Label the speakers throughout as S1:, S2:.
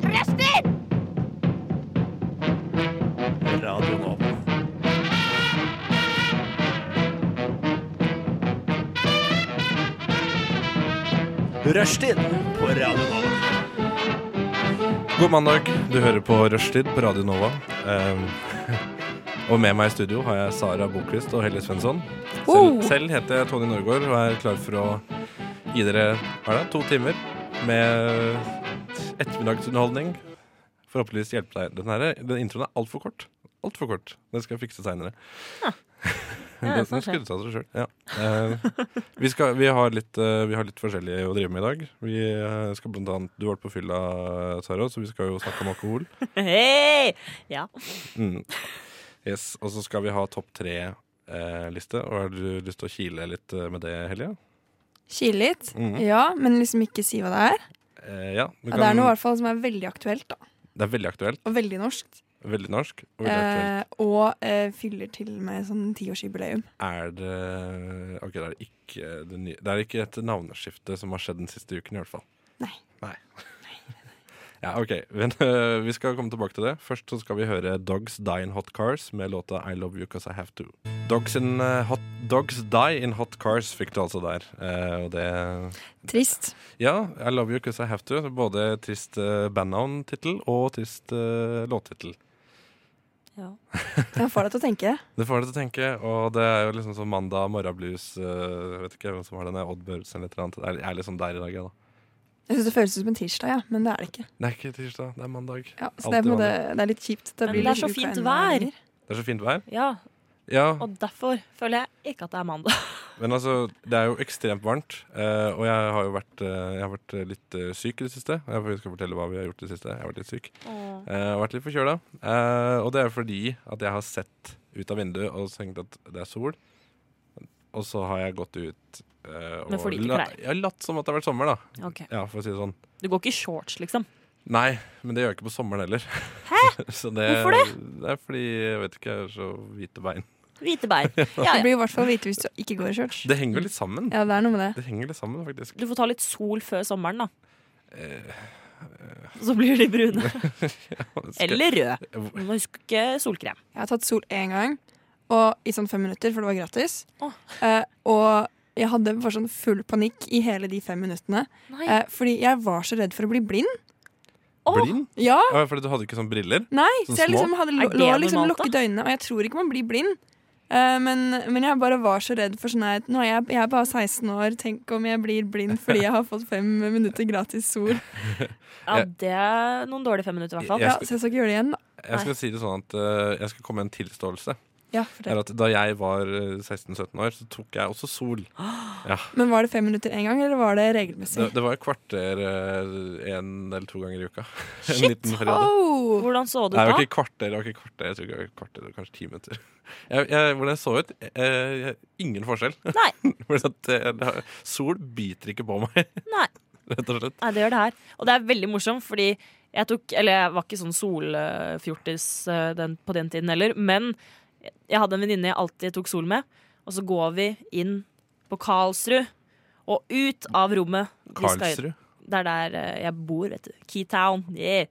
S1: Prester!
S2: Radio Nova. Rushtid på Radio Nova.
S3: God mandag. Du hører på Rushtid på Radio Nova. Ehm, og med meg i studio har jeg Sara Boklist og Helle Svensson. Selv,
S1: Oh.
S3: selv heter jeg Tony Norgård og er klar for å gi dere hva er det, to timer med ettermiddagsunderholdning. Forhåpentligvis hjelpe deg. Den, her, den introen er altfor kort. Altfor kort. Den skal jeg fikse seinere.
S1: Ja,
S3: den den
S1: sånn skjer.
S3: skudde seg av seg sjøl. Ja. Eh, vi, skal- vi, har litt, eh, vi har litt forskjellig å drive med i dag. Vi eh, skal blant annet, Du har vært på fylla, Sara, så vi skal jo snakke om alkohol.
S1: Hei! Ja.
S3: Mm. Yes, Og så skal vi ha topp tre-liste. og Har du lyst til å kile litt eh, med det, Helje?
S4: Kile litt.
S3: Mhm.
S4: Ja, men liksom ikke si hva det er.
S3: Eh, ja, du
S4: Ja, det er
S3: kan-
S4: noe i hvert fall som er veldig aktuelt, da.
S3: det er veldig aktuelt.
S4: Og veldig norskt.
S3: Veldig norsk. Og veldig aktuelt.
S4: Eh, og eh, fyller til med sånn tiårsjubileum.
S3: Er det Ok, det er ikke det nye Det er ikke et navneskifte som har skjedd den siste uken, i hvert fall.
S4: Nei.
S3: Nei. Ja, ok. Men, eh, vi skal komme tilbake til det. Først så skal vi høre Dogs Die in Hot Cars med låta I Love You Cause I Have To. Dogs, in, eh, hot, Dogs Die in Hot Cars fikk du altså der. Eh, og det
S4: Trist.
S3: Ja, I Love You Cause I Have To. Både trist uh, bandnavn-tittel og trist uh, låttittel.
S1: ja.
S4: Jeg får deg til å tenke.
S3: Det får deg til å tenke, og det er jo liksom som mandag morgenblues eh, Jeg vet ikke hvem som har den, er Odd Børresen eller et eller annet. Det er, jeg er liksom der i dag, jeg, da.
S4: Jeg synes det føles ut som en tirsdag, ja, men det er det ikke.
S3: Det er ikke tirsdag, det er mandag.
S4: Ja, så det er, på en måte, det er litt kjipt. Da
S1: Men
S4: blir
S1: det er
S4: litt
S1: så fint
S4: uka
S1: vær.
S4: enda lenger.
S3: Det er så fint vær.
S1: ja.
S3: Ja,
S1: Og derfor føler jeg ikke at det er mandag.
S3: men altså, det er jo ekstremt varmt. eh, og jeg har jo vært, eh, jeg har vært eh, litt eh, syk i det siste. Jeg skal fortelle hva vi har gjort i det siste. Jeg har vært litt syk. Uh, vært litt forkjøla. Eh, og det er fordi at jeg har sett ut av vinduet og tenkt at det er sol. Og så har jeg gått ut eh,
S1: Med for
S3: og
S1: lite
S3: la-
S1: klær.
S3: Jeg har latt som at det har vært sommer, da.
S1: Ok.
S3: Ja, for å si det sånn.
S1: Du går ikke i shorts, liksom?
S3: Nei, men det gjør jeg ikke på sommeren heller. så det,
S1: Hvorfor
S3: det? er fordi jeg vet ikke, jeg har så hvite bein.
S1: Hvite bein. Ja,
S4: Det
S1: ja.
S4: blir i hvert fall hvite hvis du ikke går i shorts.
S3: Det henger jo litt sammen.
S4: Ja, det er noe med det.
S3: Det henger litt sammen, faktisk.
S1: Du får ta litt sol før sommeren, da. Eh, Så blir de brune.
S3: Skal-
S1: Eller røde. Du må huske ikke solkrem.
S4: Jeg har tatt sol én gang, og i sånn fem minutter, for det var gratis.
S1: Åh.
S4: Eh, og jeg hadde bare sånn full panikk i hele de fem minuttene.
S1: Nei.
S4: Eh, fordi jeg var så redd for å bli blind.
S1: Åh!
S3: Blind?
S4: Ja,
S3: Ja, fordi du hadde ikke sånn briller?
S4: nei
S3: Sånn
S4: Så
S3: små?
S4: jeg liksom hadde
S1: Er
S4: lo
S1: det
S4: lå liksom
S1: normalt, da?
S4: lukket øynene, og jeg tror ikke man blir blind. Eh, men, men jeg bare var så redd for sånn her Nå er jeg, jeg er bare 16 år, tenk om jeg blir blind fordi jeg har fått fem minutter gratis sol.
S1: Ja, det er noen dårlige fem minutter, i hvert fall.
S3: Jeg
S4: Ja,
S3: skal-
S4: Så jeg skal ikke gjøre det igjen, da.
S3: Jeg skal si det sånn at eh, jeg skal komme med en tilståelse.
S4: Ja, fortell.
S3: er at da jeg var eh, 16-17 år, så tok jeg også sol.
S1: Ah,
S4: Men var det fem minutter én gang, eller var det regelmessig?
S3: Det, det var et kvarter eh, en eller to ganger i uka.
S1: Shit!
S3: En liten periode.
S4: Oh!
S1: Hvordan så du
S3: Nei, det var
S1: da?
S3: ikke et kvarter, det var ikke et kvarter, jeg tror ikke det var et kvarter, det var kanskje ti minutter. Jeg, jeg, hvordan jeg så ut? eh, jeg, ingen forskjell.
S1: Nei.
S3: Fordi at, eh, det har- sol biter ikke på meg,
S1: Nei.
S3: rett og slett.
S1: Nei, det gjør det her. Og det er veldig morsomt, fordi jeg tok Eller jeg var ikke sånn solfjortis eh, den, på den tiden heller, men jeg hadde en venninne jeg alltid tok sol med, og så går vi inn på Karlsrud. Og ut av rommet. vi skal inn.
S3: Karlsrud.
S1: Det er der eh, jeg bor, vet du. Keytown. Yeah.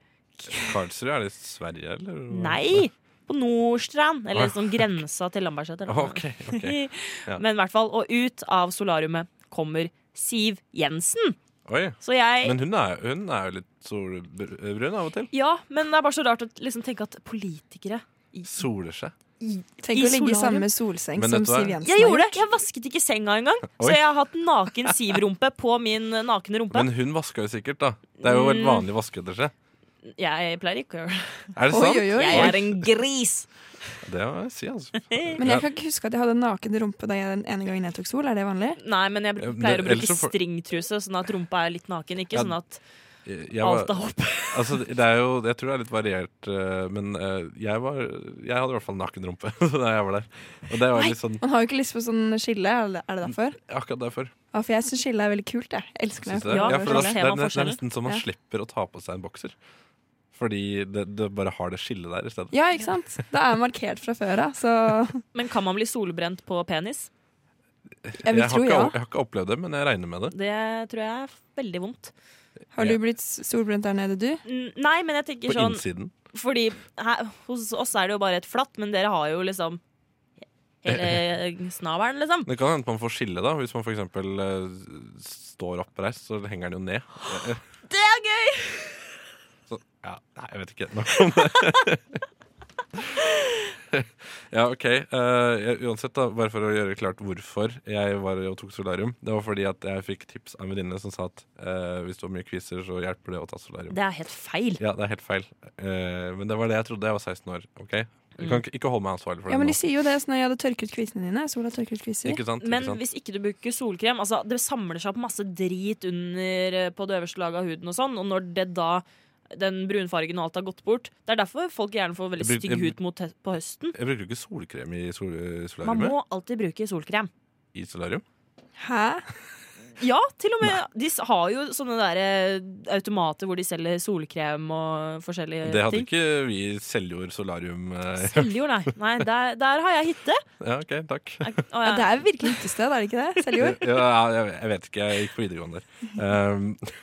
S3: Karlsrud, er det i Sverige, eller?
S1: Nei! På Nordstrand.
S3: Ah.
S1: Eller sånn grensa til Lambertseter.
S3: Ok, ok. Ja.
S1: Men i hvert fall. Og ut av solariumet kommer Siv Jensen.
S3: Oi.
S1: Så jeg
S3: Men hun er, hun er jo litt solbrun av og til.
S1: Ja, men det er bare så rart å liksom tenke at politikere
S3: Soler seg.
S4: Tenk
S1: I
S4: å ligge i
S1: solarium.
S4: samme solseng
S3: Men
S4: som
S3: dette er-
S4: Siv Jensen.
S1: Jeg gjorde
S4: har
S1: det! Jeg vasket ikke senga engang. Så
S3: Oi.
S1: jeg har hatt naken Siv-rumpe på min eh, nakne rumpe.
S3: Men hun vasker jo sikkert, da. Det er jo
S1: Mm.
S3: helt vanlig vaskeetterskje.
S1: Jeg pleier ikke å gjøre det.
S3: Er det
S4: Oi,
S3: sant?
S4: oi, oi.
S1: Jeg er en gris!
S3: Det må jeg si, altså.
S4: Men jeg kan ikke huske at jeg hadde naken rumpe da jeg den ene gangen jeg tok sol. Er det vanlig?
S1: Nei, men jeg
S3: Ja, men
S1: pleier å
S3: ellers
S1: bruke
S3: så får-
S1: stringtruse, sånn at rumpa er litt naken. Ikke
S3: Ja,
S1: sånn at
S3: Jeg, jeg var,
S1: alt er oppe.
S3: altså, det er jo, jeg tror det er litt variert, eh, men eh, jeg var Jeg hadde i hvert fall naken rumpe da jeg var der. Og det var litt sånn
S4: Man har jo ikke lyst på sånn skille, er det- er det derfor?
S3: akkurat derfor.
S4: Ja, for jeg syns skille er veldig kult, jeg. Jeg elsker
S3: Synes
S4: meg.
S3: jeg.
S1: Ja,
S3: Ja, for det,
S1: da
S3: er-
S1: ser
S3: det,
S1: man
S3: er- det er
S1: forskjellen.
S3: nesten så man
S4: Ja.
S3: slipper å ta på seg en bokser. Fordi det, det bare har det skillet der i stedet.
S4: Ja, ikke sant? Da er jeg markert fra før av, så
S1: Men kan man bli solbrent på penis?
S4: Jeg vil
S3: jeg, har
S4: tro
S3: ikke,
S4: ja.
S3: jeg har ikke opplevd det, men jeg regner med det.
S1: Det tror jeg er veldig vondt.
S4: Har du blitt solbrent der nede, du?
S1: N- Nei, men jeg tenker
S3: På
S1: sånn
S3: innsiden.
S1: Fordi her, hos oss er det jo bare et flatt, men dere har jo liksom
S3: Eh,
S1: hele snavelen, liksom.
S3: Det kan hende man får skille, da. Hvis man f.eks. Uh, står oppreist, så henger den jo ned.
S1: Det er gøy!
S3: Så, ja, nei, jeg vet ikke. Nok om det. ja, OK. eh, jeg- uansett, da, bare for å gjøre klart hvorfor jeg var og tok solarium. Det var fordi at jeg fikk tips av en venninne som sa at eh, hvis du har mye kviser, så hjelper det å ta solarium.
S1: Det er helt feil.
S3: Ja, det er helt feil. Eh, men det var det jeg trodde. Jeg var 16 år. ok? Jeg
S1: Mm.
S3: kan ikke, ikke holde meg ansvarlig for det
S4: Ja, men De
S3: nå.
S4: sier jo det sånn at jeg hadde tørket kvisene dine. Sola tørket kviser.
S3: Ikke sant?
S1: Men
S3: ikke sant?
S1: hvis ikke du bruker solkrem altså Det samler seg opp masse drit under eh, på det øverste laget av huden, og sånn Og når det da den brunfargen og alt har gått bort Det er derfor folk gjerne får veldig
S3: Jeg bruk-
S1: stygg
S3: jeg-
S1: hud mot he på høsten.
S3: Jeg bruker jo ikke solkrem i sol eh,
S1: Man
S3: solariumet.
S1: må alltid bruke solkrem.
S3: I solarium?
S4: Hæ?
S1: Ja, til og med. De s- har jo sånne der eh, automater hvor de selger solkrem og forskjellige
S3: Det hadde
S1: ting.
S3: ikke vi i Seljord solarium. eh,
S1: Seljord, nei. nei der, der har jeg hytte.
S3: Ja, OK, takk.
S1: Er- å,
S4: Ja,
S1: ja.
S4: det er virkelig utested, er det ikke det? Seljord?
S3: Ja, jeg, jeg vet ikke. Jeg gikk på videregående der. Um,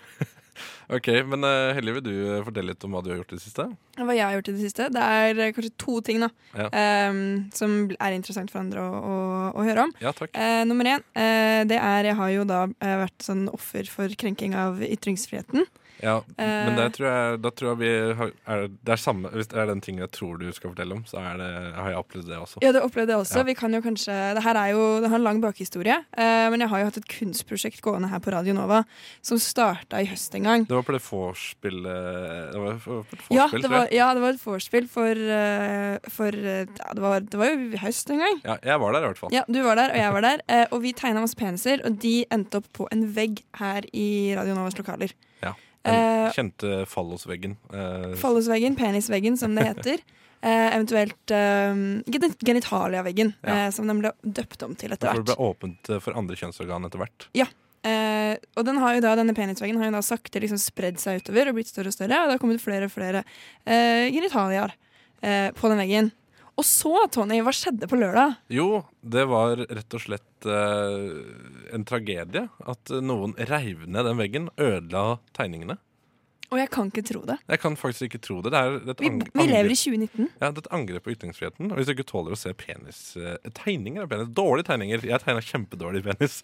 S3: OK, men eh, Hellige, vil du eh, fortelle litt om hva du har gjort i det siste?
S4: Hva jeg har gjort i det siste? Det er eh, kanskje to ting da,
S3: Ja.
S4: ehm, som er interessant for andre å, å, å høre om.
S3: Ja, takk.
S4: Eh, nummer én, eh, det er jeg har jo da eh, vært sånn offer for krenking av ytringsfriheten.
S3: Ja, men der
S4: eh.
S3: tror jeg, da tror jeg vi har, er, det er samme Hvis det er den tingen jeg tror du skal fortelle om, så er det, har jeg opplevd det også.
S4: Ja, det opplevde jeg også.
S3: Ja.
S4: Vi kan jo kanskje, det her er jo det har en lang bakhistorie, eh, men jeg har jo hatt et kunstprosjekt gående her på Radio Nova som starta i høst en gang.
S3: Det var på det vorspielet Det var på et vorspiel,
S4: Ja det,
S3: tror
S4: var,
S3: jeg.
S4: ja, det var et vorspiel for, eh, for eh, ja, det, var, det var jo i høst en gang.
S3: Ja, jeg var der i hvert fall.
S4: Ja, du var der, og jeg var der. eh, Og vi tegna masse peniser, og de endte opp på en vegg her i Radio Novas lokaler.
S3: Ja.
S4: Eh,
S3: Jeg kjente fallosveggen. eh,
S4: Fallosveggen, penisveggen, som det heter. Eh, eventuelt eh, geni- genitaliaveggen,
S3: Ja.
S4: eh, som den ble døpt om til etter
S3: for det
S4: hvert.
S3: ble åpent eh, for andre kjønnsorgan etter hvert.
S4: Eh, og den har jo da, denne penisveggen har jo da sakte liksom spredd seg utover og blitt større og større, og det har kommet flere og flere eh, genitalier eh, på den veggen. Og så, Tony, hva skjedde på lørdag?
S3: Jo, det var rett og slett eh, en tragedie. At noen reiv ned den veggen, ødela tegningene.
S4: Og jeg kan ikke tro det.
S3: Jeg kan faktisk ikke tro det. Det er et,
S4: Vi,
S3: ang-
S4: vi lever i
S3: angrep,
S4: 2019.
S3: ja, det er et angrep på ytringsfriheten. Og hvis du ikke tåler å se penis eh, Tegninger av penis. Dårlige tegninger. Jeg tegna kjempedårlig penis.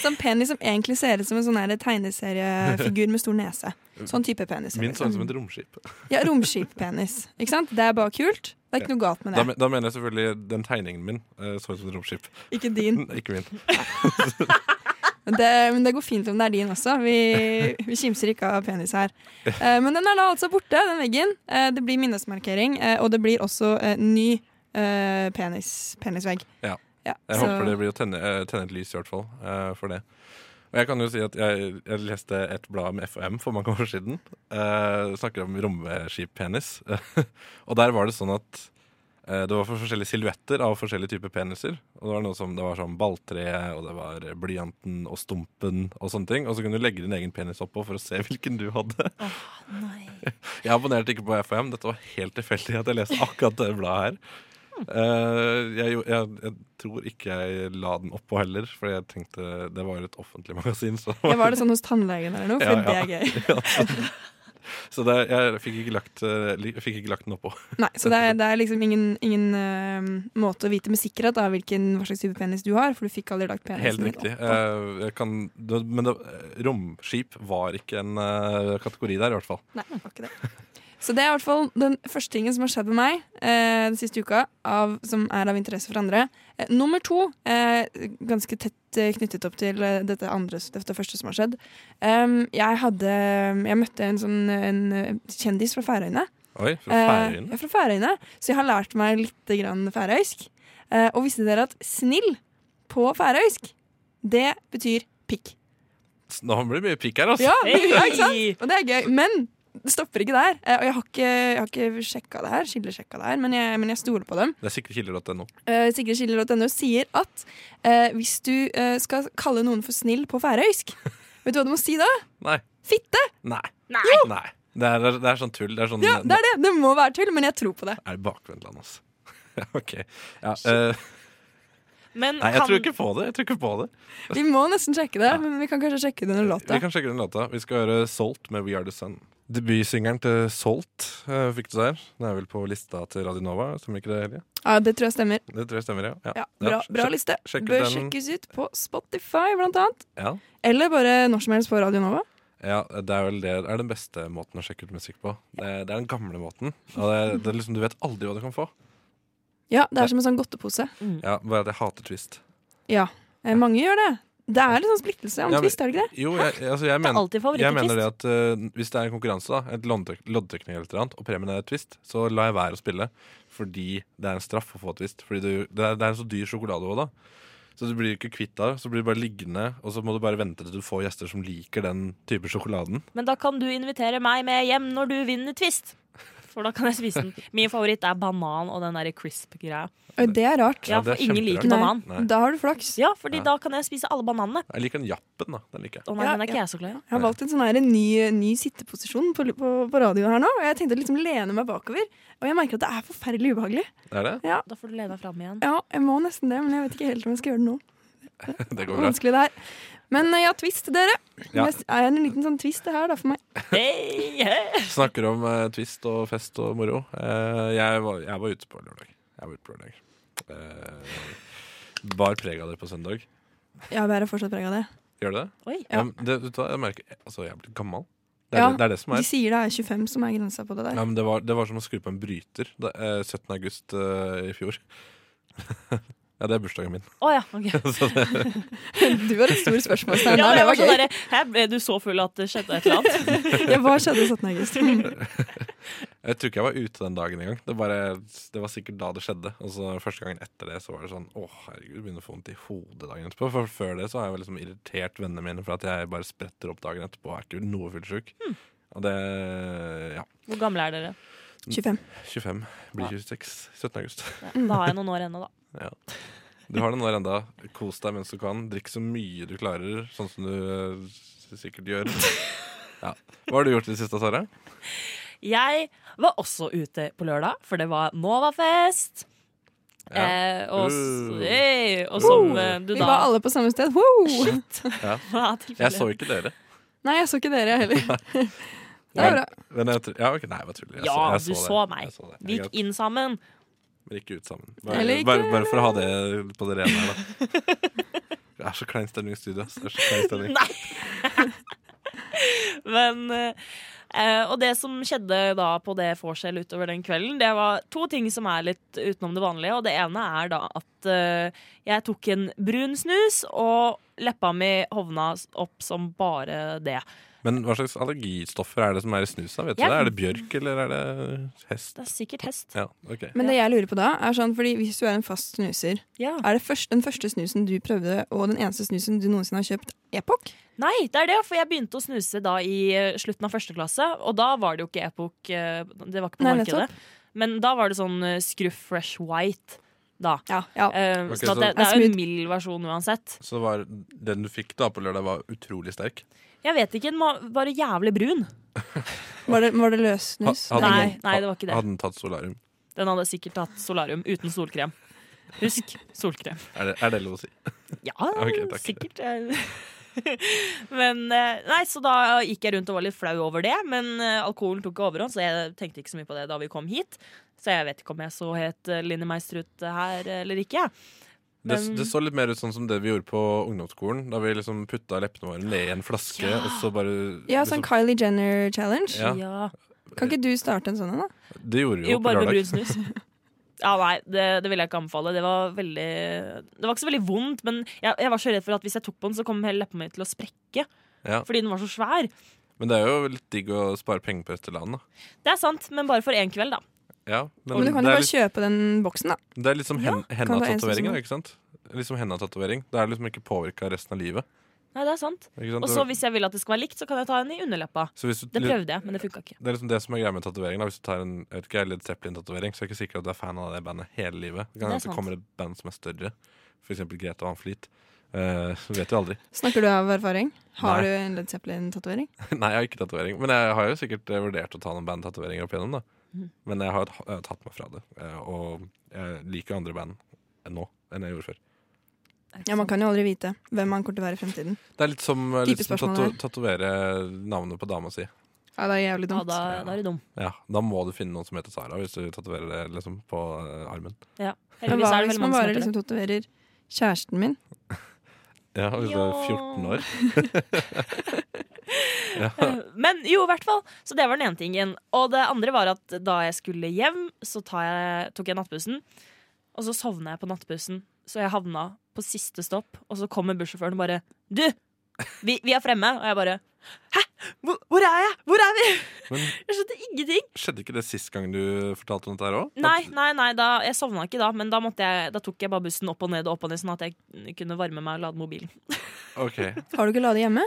S4: Sånn penis som egentlig ser ut som en sånn her tegneseriefigur med stor nese. Sånn type penis.
S3: Min sånn- så ut som
S4: Liksom.
S3: et romskip.
S4: Ja, Romskippenis. Ikke sant? Det er bare kult. Det er ikke noe galt med
S3: Da,
S4: det.
S3: men- da mener jeg selvfølgelig den tegningen min eh, så ut som et romskip.
S4: Ikke din.
S3: Ikke min.
S4: Men det, men det går fint om det er din også. Vi, vi kimser ikke av penis her. Eh, men den er da altså borte, den veggen. Eh, det blir minnesmarkering, eh, og det blir også eh, ny eh, penis, penisvegg.
S3: Ja.
S4: så-
S3: Jeg håper det blir å tenne, eh, tenne et lys i hvert fall eh, for det. Og jeg kan jo si at jeg, jeg leste et blad med FOM for mange år siden. eh, snakker om romskippenis. og der var det sånn at eh, det var for forskjellige silhuetter av forskjellige typer peniser. Og det var noe som det var sånn balltre, og det var blyanten og stumpen og sånne ting. Og så kunne du legge din egen penis oppå for å se hvilken du hadde.
S1: Nei.
S3: Jeg abonnerte ikke på FHM. Dette var helt tilfeldig at jeg leste akkurat det bladet her. Eh, jeg, gjo- jeg, jeg tror ikke jeg la den oppå heller, for jeg tenkte det var et offentlig magasin. Så,
S4: Ja, var det sånn hos tannlegen eller noe? For
S3: Ja, ja.
S4: det er gøy.
S3: så det, jeg fikk ikke lagt, eh, li- jeg fikk ikke lagt den oppå.
S4: Nei, Så det er, det er liksom ingen, ingen eh, måte å vite med sikkerhet da, hvilken, hva slags type penis du har, for du fikk aldri lagt penisen
S3: Helt
S4: din
S3: riktig.
S4: oppå.
S3: Eh, jeg kan, det, men det, romskip var ikke en eh, kategori der, i hvert fall.
S4: Nei, det var ikke det. Så det er i hvert fall den første tingen som har skjedd med meg eh, den siste uka, av, som er av interesse for andre. Eh, nummer to, eh, ganske tett eh, knyttet opp til eh, dette, andre, dette første som har skjedd. Em, jeg, hadde, jeg møtte en, sånn, en eh, kjendis fra Færøyene.
S3: Oi, fra
S4: Eh,
S3: Færøyene.
S4: ja, fra Færøyene. Så jeg har lært meg litt grann færøysk. Eh, og visste dere at snill på færøysk, det betyr pikk.
S3: S- Nå blir det mye pikk her, altså.
S4: Ja, det, ja, ikke sant?
S1: Hei!
S4: Og det er gøy, men det stopper ikke der. Eh, Og jeg har ikke, jeg har ikke sjekka det her, skillesjekka det her, men jeg, men jeg stoler på dem.
S3: Det er sikkert kilder.no.
S4: Eh, Sigridskiller.no sier at eh, hvis du eh, skal kalle noen for snill på færøysk, vet du hva du må si da?
S3: Nei.
S4: Fitte!
S3: Nei.
S1: Nei.
S3: Nei. Det, er, det er sånn tull. Det er sånn
S4: Ja, det er det. Det må være tull, men jeg tror på det.
S3: Er det bakvendtland, altså? OK. Ja, eh,
S1: Men
S3: Nei, jeg
S1: kan-
S3: tror ikke på det. Jeg tror ikke på det.
S4: Vi må nesten sjekke det, men vi kan kanskje sjekke det under låta.
S3: Vi kan sjekke den låta. Vi skal høre Salt med We Are The Sun. Debutsingeren til Salt eh, fikk du der. Den er vel på lista til Radionova, stemmer ikke det, Helge?
S4: Ja, Det tror jeg stemmer.
S3: Det tror jeg stemmer, ja.
S4: Ja, bra, bra
S3: sjekk-
S4: liste.
S3: sjekk ut
S4: Bør
S3: den.
S4: sjekkes ut på Spotify, blant annet.
S3: Ja.
S4: Eller bare når som helst på Radio Nova.
S3: Ja, det er vel det det er den beste måten å sjekke ut musikk på. Det er, det er den gamle måten. Og det, er- det er liksom, du vet aldri hva du kan få.
S4: Ja, det er som en sånn godtepose.
S3: Ja, Bare at jeg hater Twist.
S4: Ja, eh, mange gjør det. Det er litt sånn splittelse om
S3: Ja, men-
S4: twist, er det ikke det?
S3: Jo, jeg, altså, jeg,
S1: Det er
S3: mener,
S1: alltid
S3: jeg mener
S1: favoritt-twist.
S3: det at eh, hvis det er en konkurranse, da, et loddtrekk- loddtrekning eller et eller annet, og premien er et Twist, så lar jeg være å spille. Fordi det er en straff å få et Twist. Fordi det, det, er, det er en så dyr sjokolade også, da. Så du blir ikke kvitt deg, så blir du bare liggende, og så må du bare vente til du får gjester som liker den type sjokoladen.
S1: Men da kan du invitere meg med hjem når du vinner Twist. For da kan jeg spise den. Min favoritt er banan og den derre crisp-greia.
S4: Oi, Eh, Det er rart.
S1: Ja,
S3: det er
S1: for ingen
S3: kjemperart.
S1: liker banan.
S3: Nei.
S4: Da har du flaks.
S1: Ja, fordi
S3: Ja.
S1: da kan jeg spise alle bananene.
S3: Jeg liker den jappen, da. Den liker jeg.
S1: Å nei,
S4: Ja,
S1: den er ikke
S4: ja.
S1: jeg så glad i.
S4: Jeg har valgt en sånn her, en ny, ny sitteposisjon på, på, på radioen her nå. Og jeg tenkte å liksom lene meg bakover. Og jeg merker at det er forferdelig ubehagelig.
S3: Er det?
S1: Da får du lene deg fram igjen.
S4: Ja, jeg må nesten det, men jeg vet ikke helt om jeg skal gjøre det nå.
S3: Det går bra.
S4: Vanskelig det her. Men eh, ja, twist, dere.
S3: Ja.
S4: Jeg s- er en liten sånn twist det her da for meg.
S1: Hey, hey.
S3: Snakker om eh, twist og fest og moro. Eh, jeg, var, jeg var ute på lørdag. Jeg var ute på lørdag. Eh, bar preg av det på søndag.
S4: Ja, jeg bærer fortsatt preg av det.
S3: Gjør det det?
S1: Oi.
S4: Ja.
S3: men det vet du hva, jeg merker Altså, jeg er blitt gammel. Det er,
S4: Ja.
S3: det, det, er det som
S4: De
S3: er.
S4: sier det er 25 som er grensa på det der.
S3: Ja, men det, var, det var som å skru på en bryter da, eh, 17. august eh, i fjor. ja, det er bursdagen min.
S1: Å ja, ok.
S3: Så det,
S4: Du har et stort spørsmålstegn
S1: Ja, det
S4: her, det
S1: var
S4: var
S1: sånn
S4: gøy.
S1: derre Hæ, ble du så full at det skjedde et eller annet?
S4: Ja, hva skjedde 17. august? Hmm.
S3: jeg tror ikke jeg var ute den dagen engang. Det, bare, det var sikkert da det skjedde. Og så første gangen etter det så var det sånn Å, herregud, begynner å få vondt i hodet dagen etterpå. For før det så har jeg vel liksom irritert vennene mine for at jeg bare spretter opp dagen etterpå og er ikke noe fyllesyk.
S4: Hmm.
S3: Og det Ja.
S1: Hvor gamle er dere?
S4: 25.
S3: 25 blir 26. 17. august.
S1: Ja, da har jeg noen år ennå, da.
S3: Ja. Du har den der enda. Kos deg mens du kan. Drikk så mye du klarer, sånn som du eh, sikkert gjør. Ja. Hva har du gjort i det siste, Sara?
S1: Jeg var også ute på lørdag, for det var Novafest.
S3: Ja.
S1: Eh, og, s-
S3: Uh.
S1: hey, og som
S3: Uh.
S1: eh, du
S4: Vi
S1: da
S4: var alle på samme sted. Wow!
S1: Ja,
S3: Jeg
S1: tilfellet.
S3: så ikke dere.
S4: Nei, jeg så ikke dere heller. Det var bra.
S3: Men jeg, tr- ja, ok, nei, jeg bare tuller. Jeg
S1: Ja,
S3: jeg
S1: du
S3: det.
S1: så meg.
S3: Jeg så det.
S1: Vi
S3: Jeg-
S1: gikk inn sammen.
S3: Men ikke ut sammen.
S4: Eller
S3: Bare,
S4: ikke-
S3: bare, bare for å ha det på det rene. her, Da. Det er så klein stemning i studio. ass. Det er så klein stemning.
S1: Nei! Men eh, Og det som skjedde da på det vorset utover den kvelden, det var to ting som er litt utenom det vanlige. Og det ene er da at eh, jeg tok en brun snus, og leppa mi hovna opp som bare det.
S3: Men hva slags allergistoffer er det som er i snusa? Vet du
S1: Jeg-
S3: det? Er det bjørk, eller er det hest?
S1: Det er sikkert hest.
S3: Ja, ok.
S4: Men det jeg lurer på da, er sånn, fordi hvis du er en fast snuser,
S1: Ja.
S4: er det først, den første snusen du prøvde, og den eneste snusen du noensinne har kjøpt, Epoch?
S1: Nei, det er det, for jeg begynte å snuse da i eh, slutten av første klasse, og da var det jo ikke Epoch eh, Det var ikke på
S4: Nei,
S1: markedet. Men da var det sånn eh, Scruff Fresh White, da.
S4: Ja, ja.
S1: Eh,
S3: Ok,
S1: så at
S3: så-
S1: det, det er jo
S4: Smooth.
S1: en mild versjon uansett.
S3: Så var den du fikk da på lørdag, var utrolig sterk?
S1: Jeg vet ikke, den var bare jævlig brun.
S4: Var det, var det løs
S3: Ha-
S4: snus?
S3: hadde
S1: Nei,
S3: den-
S1: nei, det var ikke det.
S3: Hadde den tatt solarium?
S1: Den hadde sikkert tatt solarium uten solkrem. Husk solkrem.
S3: Er det, er det lov å si?
S1: Ja,
S3: Ok, takk.
S1: sikkert. eh. Men eh, Nei, så da gikk jeg rundt og var litt flau over det. Men eh, alkoholen tok overhånd, så jeg tenkte ikke så mye på det da vi kom hit. Så jeg vet ikke om jeg så het eh, Linni Meister ut her eh, eller ikke.
S3: Det,
S1: Men-
S3: det så litt mer ut sånn som det vi gjorde på ungdomsskolen. Da vi liksom putta leppene våre ned i en flaske,
S1: Ja.
S3: og så bare
S4: Ja, sånn
S3: liksom,
S4: Kylie Jenner-challenge.
S3: Ja.
S4: Kan ikke du starte en sånn en, da?
S3: Det gjorde vi jo,
S1: Jo,
S3: på
S1: bare med
S3: lørdag.
S1: brun snus. Ja, nei, det, det vil jeg ikke anbefale. Det var veldig Det var ikke så veldig vondt, men jeg, jeg var så redd for at hvis jeg tok på den, så kom hele leppa mi til å sprekke.
S3: Ja.
S1: Fordi den var så svær.
S3: Men det er jo litt digg å spare penger på Østerland, da.
S1: Det er sant, men bare for én kveld, da.
S3: Ja, men,
S4: Men du kan
S3: det, er
S4: jo bare
S3: litt,
S4: kjøpe den boksen, da.
S3: det er litt som hen,
S4: kan det være en som
S1: sånn.
S3: henna-tatovering,
S4: som-
S3: da, ikke sant? Litt som henna-tatovering. Det er liksom ikke påvirka resten av livet.
S1: Nei, det er sant.
S3: Ikke sant?
S1: Og så hvis jeg vil at det skal være likt, så kan jeg ta en i underleppa.
S3: Så hvis du,
S1: Det prøvde jeg, men det funka ikke.
S3: det er liksom det som er greia med tatovering. da. Hvis du tar en jeg vet ikke, Led Zeppelin-tatovering, så er jeg ikke sikker at du er fan av det bandet hele livet. Det kan
S1: Det er
S3: hende at
S1: sant.
S3: det kommer et band som er større, f.eks. Grete Van Fleet. Eh, vet du aldri.
S4: Snakker du av erfaring?
S3: Nei.
S4: Har du en Led Zeppelin-tatovering?
S3: Nei, jeg har ikke tatovering. Men jeg har jo sikkert eh, vurdert å ta noen bandtatoveringer opp igjennom. da
S1: Mhm.
S3: Men jeg har, jeg har tatt meg fra det. eh, Og jeg liker andre band enn nå enn jeg gjorde før.
S4: Ja, Man kan jo aldri vite hvem man kommer til å være i fremtiden.
S3: Det er litt som eh,
S4: Dype
S3: litt som
S4: spørsmål
S3: tato- tatovere navnet på dama si.
S4: Ja, det er jævlig
S1: Ja,
S4: dumt.
S1: da, da er du dum.
S3: Ja, Da må du finne noen som heter Sara, hvis du tatoverer det liksom, på eh, armen.
S4: Men
S1: Heldigvis er det
S4: hva hvis
S1: veldig
S4: man
S1: mange som
S4: bare
S1: heter det.
S4: liksom tatoverer kjæresten min?
S3: Ja, Hvis du er 14 år.
S1: Eh, Men jo, i hvert fall. Så det var den ene tingen. Og det andre var at da jeg skulle hjem, så tar jeg, tok jeg nattbussen. Og så sovna jeg på nattbussen, så jeg havna på siste stopp. Og så kommer bussjåføren og bare 'Du, vi, vi er fremme.' Og jeg bare 'Hæ? Hvor, hvor er jeg? Hvor er vi?'
S3: Men
S1: Jeg skjønte ingenting.
S3: Skjedde ikke det sist gang du fortalte om dette her òg?
S1: Nei, nei, nei, da, jeg sovna ikke da, men da, måtte jeg, da tok jeg bare bussen opp og ned og opp og ned, sånn at jeg kunne varme meg og lade mobilen.
S3: Ok,
S4: Har du ikke lade hjemme?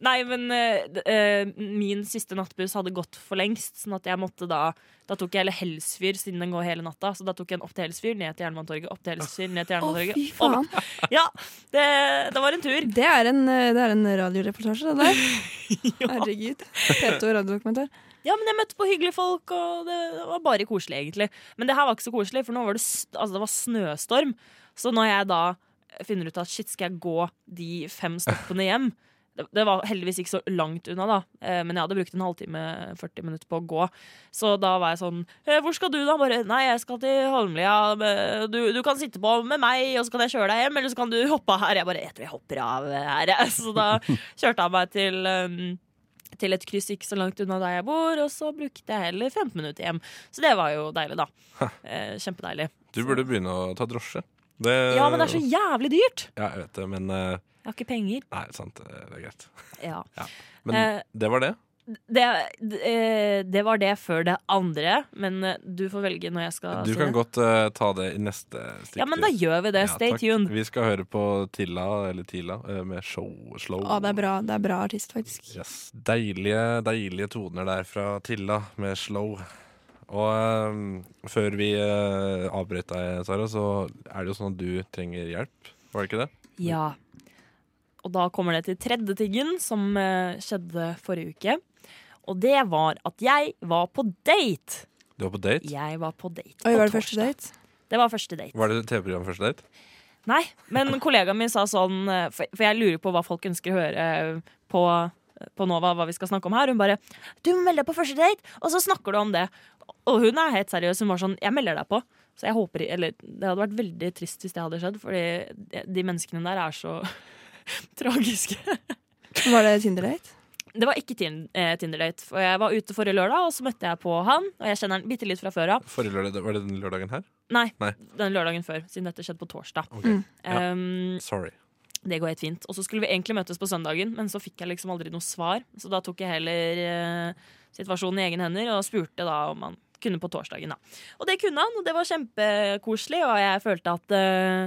S1: Nei, men eh, d- eh, min siste nattbuss hadde gått for lengst, sånn at jeg måtte da Da tok jeg hele Helsfyr, siden den går hele natta, så da tok jeg den opp til Helsfyr, ned til Jernbanetorget, opp til Helsfyr, ned til
S4: Å,
S1: Jernbanetorget.
S4: fy faen.
S1: Og- Ja, det, det var en tur.
S4: Det er en, eh, det er en radioreportasje, det der. Herregud. TV2 radiodokumentar.
S1: Ja, men jeg møtte på hyggelige folk, og det var bare koselig, egentlig. Men det her var ikke så koselig, for nå var det, s- altså, det var snøstorm. Så når jeg da finner ut at shit, skal jeg gå de fem stoppene hjem det- det var heldigvis ikke så langt unna, da, eh, men jeg hadde brukt en halvtime 40 minutter på å gå. Så da var jeg sånn «Eh, 'Hvor skal du, da?' Bare 'Nei, jeg skal til Holmlia. men Du, du kan sitte på med meg, og så kan jeg kjøre deg hjem, eller så kan du hoppe av her.' Jeg bare 'Jeg tror jeg hopper av her', jeg. Så da kjørte han meg til eh, til et kryss ikke så langt unna der jeg bor, og så brukte jeg heller 15 minutter hjem. Så det var jo deilig, da. Eh, kjempedeilig.
S3: Du burde begynne å ta drosje. Det,
S1: Ja, men det er så jævlig dyrt!
S3: Ja, jeg vet det, men eh,
S1: Jeg har ikke penger.
S3: Nei, sant, eh, det er greit.
S1: Ja.
S3: Men
S1: Eh.
S3: det var det.
S1: Det, d- eh, det var det før det andre, men eh, du får velge når jeg skal
S3: Du
S1: si
S3: kan
S1: det.
S3: godt eh, ta det i neste stikk.
S1: Ja, men da gjør vi det. Stay tuned.
S3: Vi skal høre på Tilla, eller Tila, eh, med show, Slow.
S4: Å, det er bra, det er bra artist, faktisk.
S3: Yes. Deilige, deilige toner der fra Tilla med Slow. Og ehm, før vi eh, avbrøt deg, Sara, så er det jo sånn at du trenger hjelp. Var det ikke det?
S1: Ja. Og da kommer det til tredje tingen som eh, skjedde forrige uke. Og det var at jeg var på date.
S3: Du var på date?
S1: Jeg var på date.
S4: Oi,
S1: på
S4: var det første
S1: torsdag.
S4: date?
S1: Det var første date.
S3: Var det TV-program første date?
S1: Nei, men kollegaen min sa sånn eh, For for jeg lurer på hva folk ønsker å høre eh, på, eh, på Nova, hva vi skal snakke om her. Hun bare 'Du må melde deg på første date, og så snakker du om det'. Og hun er helt seriøs. Hun var sånn 'Jeg melder deg på'. Så jeg håper, eller Det hadde vært veldig trist hvis det hadde skjedd, Fordi de- de menneskene der er så tragiske.
S4: Var det Tinder-date?
S1: Det var ikke tin- eh, Tinder-date. For jeg var ute forrige lørdag, og så møtte jeg på han. Og jeg kjenner han bitte litt fra før av.
S3: Forrige lørdag, Var det den lørdagen her?
S1: Nei,
S3: Nei.
S1: den lørdagen før, siden dette skjedde på torsdag.
S3: Ok, Ja.
S1: Um,
S3: Sorry.
S1: Det går helt fint. Og så skulle vi egentlig møtes på søndagen, men så fikk jeg liksom aldri noe svar. Så da tok jeg heller eh, situasjonen i egne hender og spurte da om han kunne på torsdagen. da. Og det kunne han, og det var kjempekoselig, og jeg følte at, eh,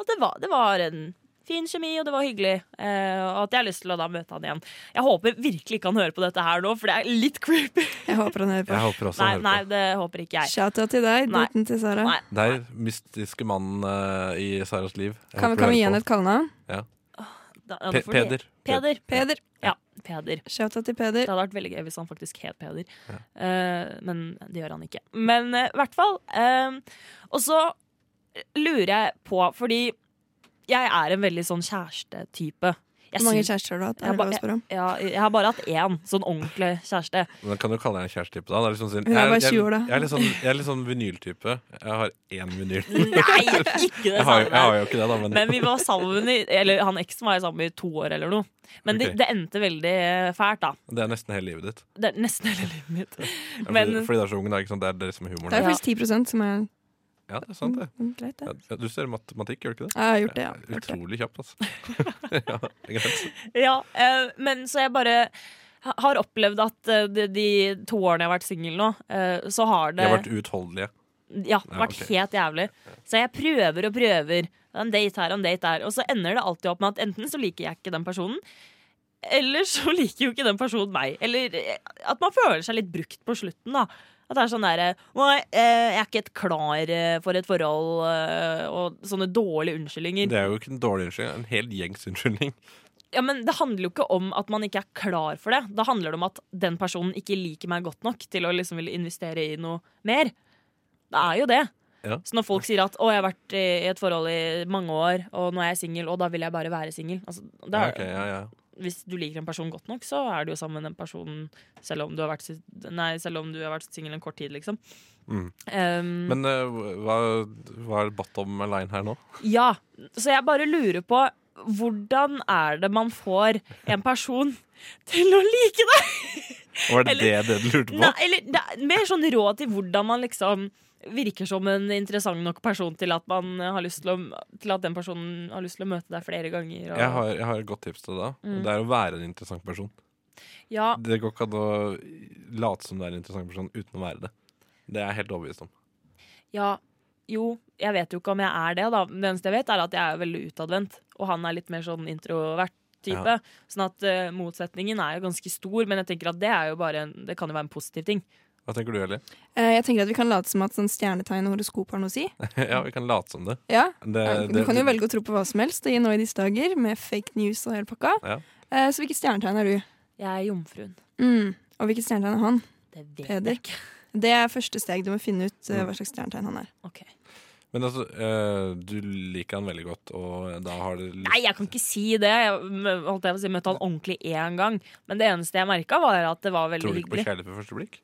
S1: at det, var, det var en fin kjemi, og det var hyggelig. eh, og at jeg har lyst til å da møte han igjen. Jeg håper virkelig ikke han hører på dette her nå, for det er litt creepy.
S4: Jeg håper han hører på.
S3: Jeg håper også
S1: Nei,
S3: han
S1: nei,
S3: hører på.
S1: det håper ikke jeg.
S4: Shout-out til deg,
S1: Nei.
S4: daten til Sara.
S1: Nei.
S3: Der, mystiske mannen eh, i Saras liv. Jeg
S4: Kan,
S3: håper
S4: kan
S3: du
S4: vi gi
S3: hører
S4: henne et kallenavn?
S1: Da,
S3: på.
S1: da
S3: Pe
S1: får de-
S3: Peder.
S1: Peder.
S4: Peder.
S1: Ja, Peder.
S4: Shout-out til Peder.
S1: Det hadde vært veldig gøy hvis han faktisk het Peder. Eh, men det gjør han ikke. Men eh, i hvert fall. eh, og så lurer jeg på, fordi jeg er en veldig sånn kjærestetype. Jeg
S4: Hvor mange
S1: syns-
S4: kjærester har du hatt?
S1: Jeg
S4: Er det
S1: ba-
S4: lov å spørre om?
S1: ja, jeg har bare hatt én sånn ordentlig kjæreste.
S3: Men kan du kalle henne kjærestetype, da? Det er liksom sånn,
S4: Hun er
S3: jeg-
S4: bare
S3: jeg-
S4: 20 år, da.
S3: Jeg er litt sånn, jeg er litt sånn vinyltype. Jeg har én vinyl.
S1: Nei, ikke det
S3: Jeg har, jo-
S1: samme!
S3: jeg har jo ikke det, da, men,
S1: Men vi var sammen i Eller han eksen var sammen i to år eller noe. Men
S3: Ok.
S1: det, det endte veldig fælt, da.
S3: det er nesten hele livet ditt.
S1: Det er nesten hele livet mitt.
S3: Ja, Fordi, fordi
S1: Men-
S3: det er så ung, da. Ikke sant? Det er det som er humoren.
S4: Det er faktisk 10 som er
S3: Ja, det er sant, det.
S4: mm, greit, det.
S3: Ja, du ser matematikk, gjør du ikke det?
S4: Ja, jeg har gjort det, ja. Gjort det.
S3: Utrolig kjapt, altså. ja, ikke sant?
S1: Ja, eh, men så jeg bare ha- har opplevd at eh, de, de to årene jeg har vært singel nå, eh, så har
S3: De
S1: det
S3: har vært uutholdelige.
S1: ja, vært
S3: ok.
S1: helt jævlig. Så jeg prøver og prøver. Det er En date her og en date der. Og så ender det alltid opp med at enten så liker jeg ikke den personen, eller så liker jo ikke den personen meg. Eller eh, at man føler seg litt brukt på slutten, da. At det er sånn derre Nei, eh, jeg er ikke helt klar eh, for et forhold, eh, og sånne dårlige unnskyldninger.
S3: Det er jo ikke en dårlig unnskyldning, en hel gjengs unnskyldning.
S1: ja, men Det handler jo ikke om at man ikke er klar for det. Da handler det om at den personen ikke liker meg godt nok til å liksom ville investere i noe mer. Det er jo det.
S3: Ja.
S1: Så når folk sier at 'å, jeg har vært i i et forhold i mange år, og nå er jeg singel, og da vil jeg bare være singel' altså, det
S3: Ja,
S1: er-
S3: ok, ja, ja.
S1: Hvis du liker en person godt nok, så er du jo sammen med den personen selv om du har vært, si- nei, selv om du har vært singel en kort tid, liksom.
S3: Mm.
S1: Um,
S3: Men eh, hva, hva er bottom line her nå?
S1: Ja, så jeg bare lurer på hvordan er det man får en person til å like deg?
S3: Var det
S1: Eller-
S3: det, det du lurte på?
S1: Nei, eller det er mer sånn råd til hvordan man liksom virker som en interessant nok person til at, man har lyst til, å, til at den personen har lyst til å møte deg flere ganger. Og,
S3: Jeg har, jeg har et godt tips til deg. da.
S1: Mm.
S3: Det er å være en interessant person.
S1: ja,
S3: Det går ikke an å late som du er en interessant person uten å være det. Det er jeg helt overbevist om.
S1: ja, jo, jeg vet jo ikke om jeg er det, da. Det eneste jeg vet, er at jeg er veldig utadvendt, og han er litt mer sånn introvert. Type.
S3: Ja.
S1: Sånn at eh, Motsetningen er jo ganske stor, men jeg tenker at det, er jo bare en, det kan jo være en positiv ting.
S3: Hva tenker du, Eli?
S4: Eh, jeg tenker at Vi kan late som at sånn stjernetegn og horoskop har noe å si.
S3: ja, vi kan late som det.
S4: Ja,
S3: det,
S4: Du
S3: Eh, det
S4: kan jo velge å tro på hva som helst i nå i disse dager, med fake news og hele pakka.
S3: Ja.
S4: Eh, Så hvilket stjernetegn er du?
S1: Jeg er jomfruen.
S4: Mm. Og hvilket stjernetegn er han?
S1: Det vet
S4: Peder.
S1: jeg ikke.
S4: Det er første steg. Du må finne ut
S3: Mm.
S4: eh, hva slags stjernetegn han er.
S1: Ok.
S3: Men altså, eh, du liker han veldig godt, og da har det
S1: Nei, jeg kan ikke si det. Jeg mø- holdt jeg på å si, møtte han ordentlig én gang. Men det eneste jeg merka, var at det var veldig
S3: Tror du ikke på
S1: hyggelig.
S3: kjærlighet ved første blikk?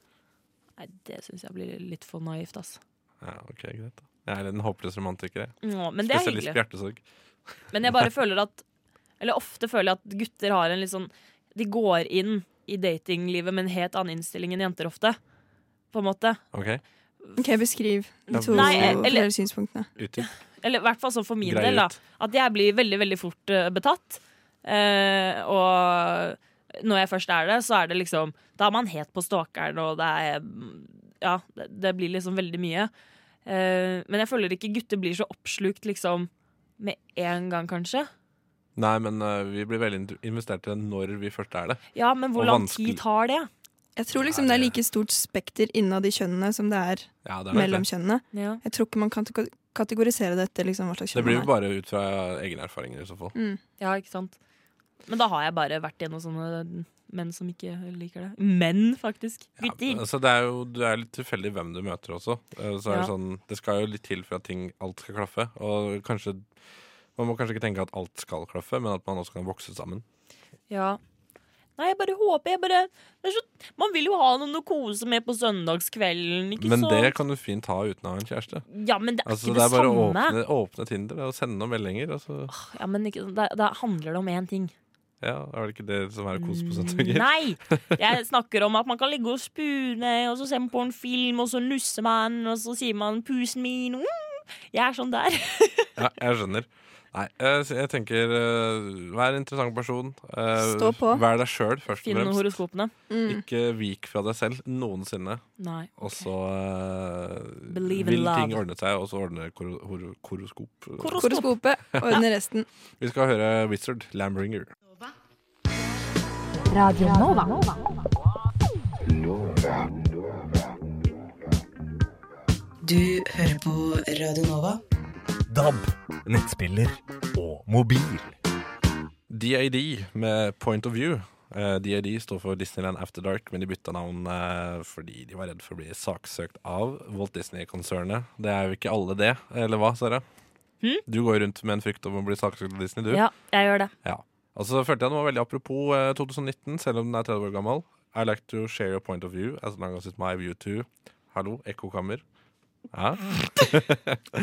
S1: Nei, Det syns jeg blir litt for naivt, ass.
S3: Ja, ok, greit da. Jeg er en håpløs romantiker. jeg.
S1: Nå, men det er
S3: Spesialist på
S1: hyggelig.
S3: hjertesorg.
S1: Men jeg bare føler at Eller ofte føler jeg at gutter har en litt sånn De går inn i datinglivet med en helt annen innstilling enn jenter ofte. På en måte.
S3: Ok,
S4: Ok, Beskriv de to
S1: Nei,
S4: Nei,
S1: eller-
S4: flere synspunktene.
S3: utdyp.
S1: Eller i hvert fall sånn for min
S3: Grei
S1: del, da.
S3: ut.
S1: At jeg blir veldig, veldig fort eh, betatt. Eh, og når jeg først er det, så er det liksom Da er man het på stalkeren, og det er mm, Ja, det, det blir liksom veldig mye. Eh, men jeg føler ikke gutter blir så oppslukt liksom med en gang, kanskje.
S3: Nei, men eh, vi blir veldig in- investert i det når vi først er det.
S1: Ja, men hvor
S3: Og
S1: lang
S3: vanskelig.
S1: tid tar det?
S4: Jeg tror liksom
S3: Nei,
S4: det er
S3: det-
S4: like stort spekter innad i kjønnene som det er
S3: Ja, det, er nok
S4: mellom
S3: det.
S4: kjønnene.
S1: Ja.
S4: Jeg tror ikke man kan t- kategorisere det etter liksom hva slags
S3: det
S4: kjønn
S3: blir jo
S4: man er.
S3: bare ut fra egne erfaringer i så fall.
S4: Mm.
S1: ja, ikke sant. Men da har jeg bare vært gjennom sånne menn som ikke liker det. Menn, faktisk.
S3: Ja,
S1: Gutter.
S3: altså det er jo du er litt tilfeldig hvem du møter også. Eh, Så er
S1: Ja.
S3: Det sånn, det skal jo litt til for at ting, alt skal klaffe. Og kanskje, Man må kanskje ikke tenke at alt skal klaffe, men at man også kan vokse sammen.
S1: Ja. Nei, jeg bare håper jeg bare det er så, Man vil jo ha noen å kose med på søndagskvelden, ikke
S3: Men
S1: sant?
S3: det kan du fint ha uten å ha en kjæreste.
S1: Ja, men det er
S3: Altså,
S1: ikke
S3: det
S1: det,
S3: er bare å
S1: samme.
S3: åpne, åpne Tinder og sende noen meldinger. Og så,
S1: Ja, men ikke, da, da handler det om én ting.
S3: ja, er det ikke det som
S1: Mm.
S3: er å kose på søndager?
S1: Nei! Jeg snakker om at man kan ligge og spune, og så ser man på en film, og så nusser man, og så sier man 'pusen min'. Mm. Jeg er sånn der.
S3: Ja, jeg skjønner. Nei, eh, så jeg tenker eh, Vær en interessant person. Eh,
S4: Stå på.
S3: Vær deg sjøl, først og
S1: Finn
S3: fremst.
S1: horoskopene.
S4: Mm.
S3: Ikke vik fra deg selv noensinne.
S1: Nei. ok.
S3: Og så eh,
S1: Believe in
S3: vil ting
S1: love.
S3: ordne seg, og så ordner kor hor koroskop.
S1: Koros-
S4: Horoskopet ordner resten.
S3: Vi skal høre Wizard, Lambringer.
S5: Radio Nova.
S6: Du hører på Radio Nova.
S2: DAB, nettspiller og mobil.
S3: DAD med Point of View. Eh, DAD står for Disneyland After Dark, men de bytta navn eh, fordi de var redd for å bli saksøkt av Walt Disney-konsernet. Det er jo ikke alle det, eller hva, Sara?
S1: Hm?
S3: Du går rundt med en frykt om å bli saksøkt av Disney, du.
S1: Ja, jeg gjør det.
S3: Og så følte jeg den var veldig apropos eh, 2019, selv om den er 30 år gammel. I like to share your point of view as long as it's my view too. Hallo, ekkokammer. Ja.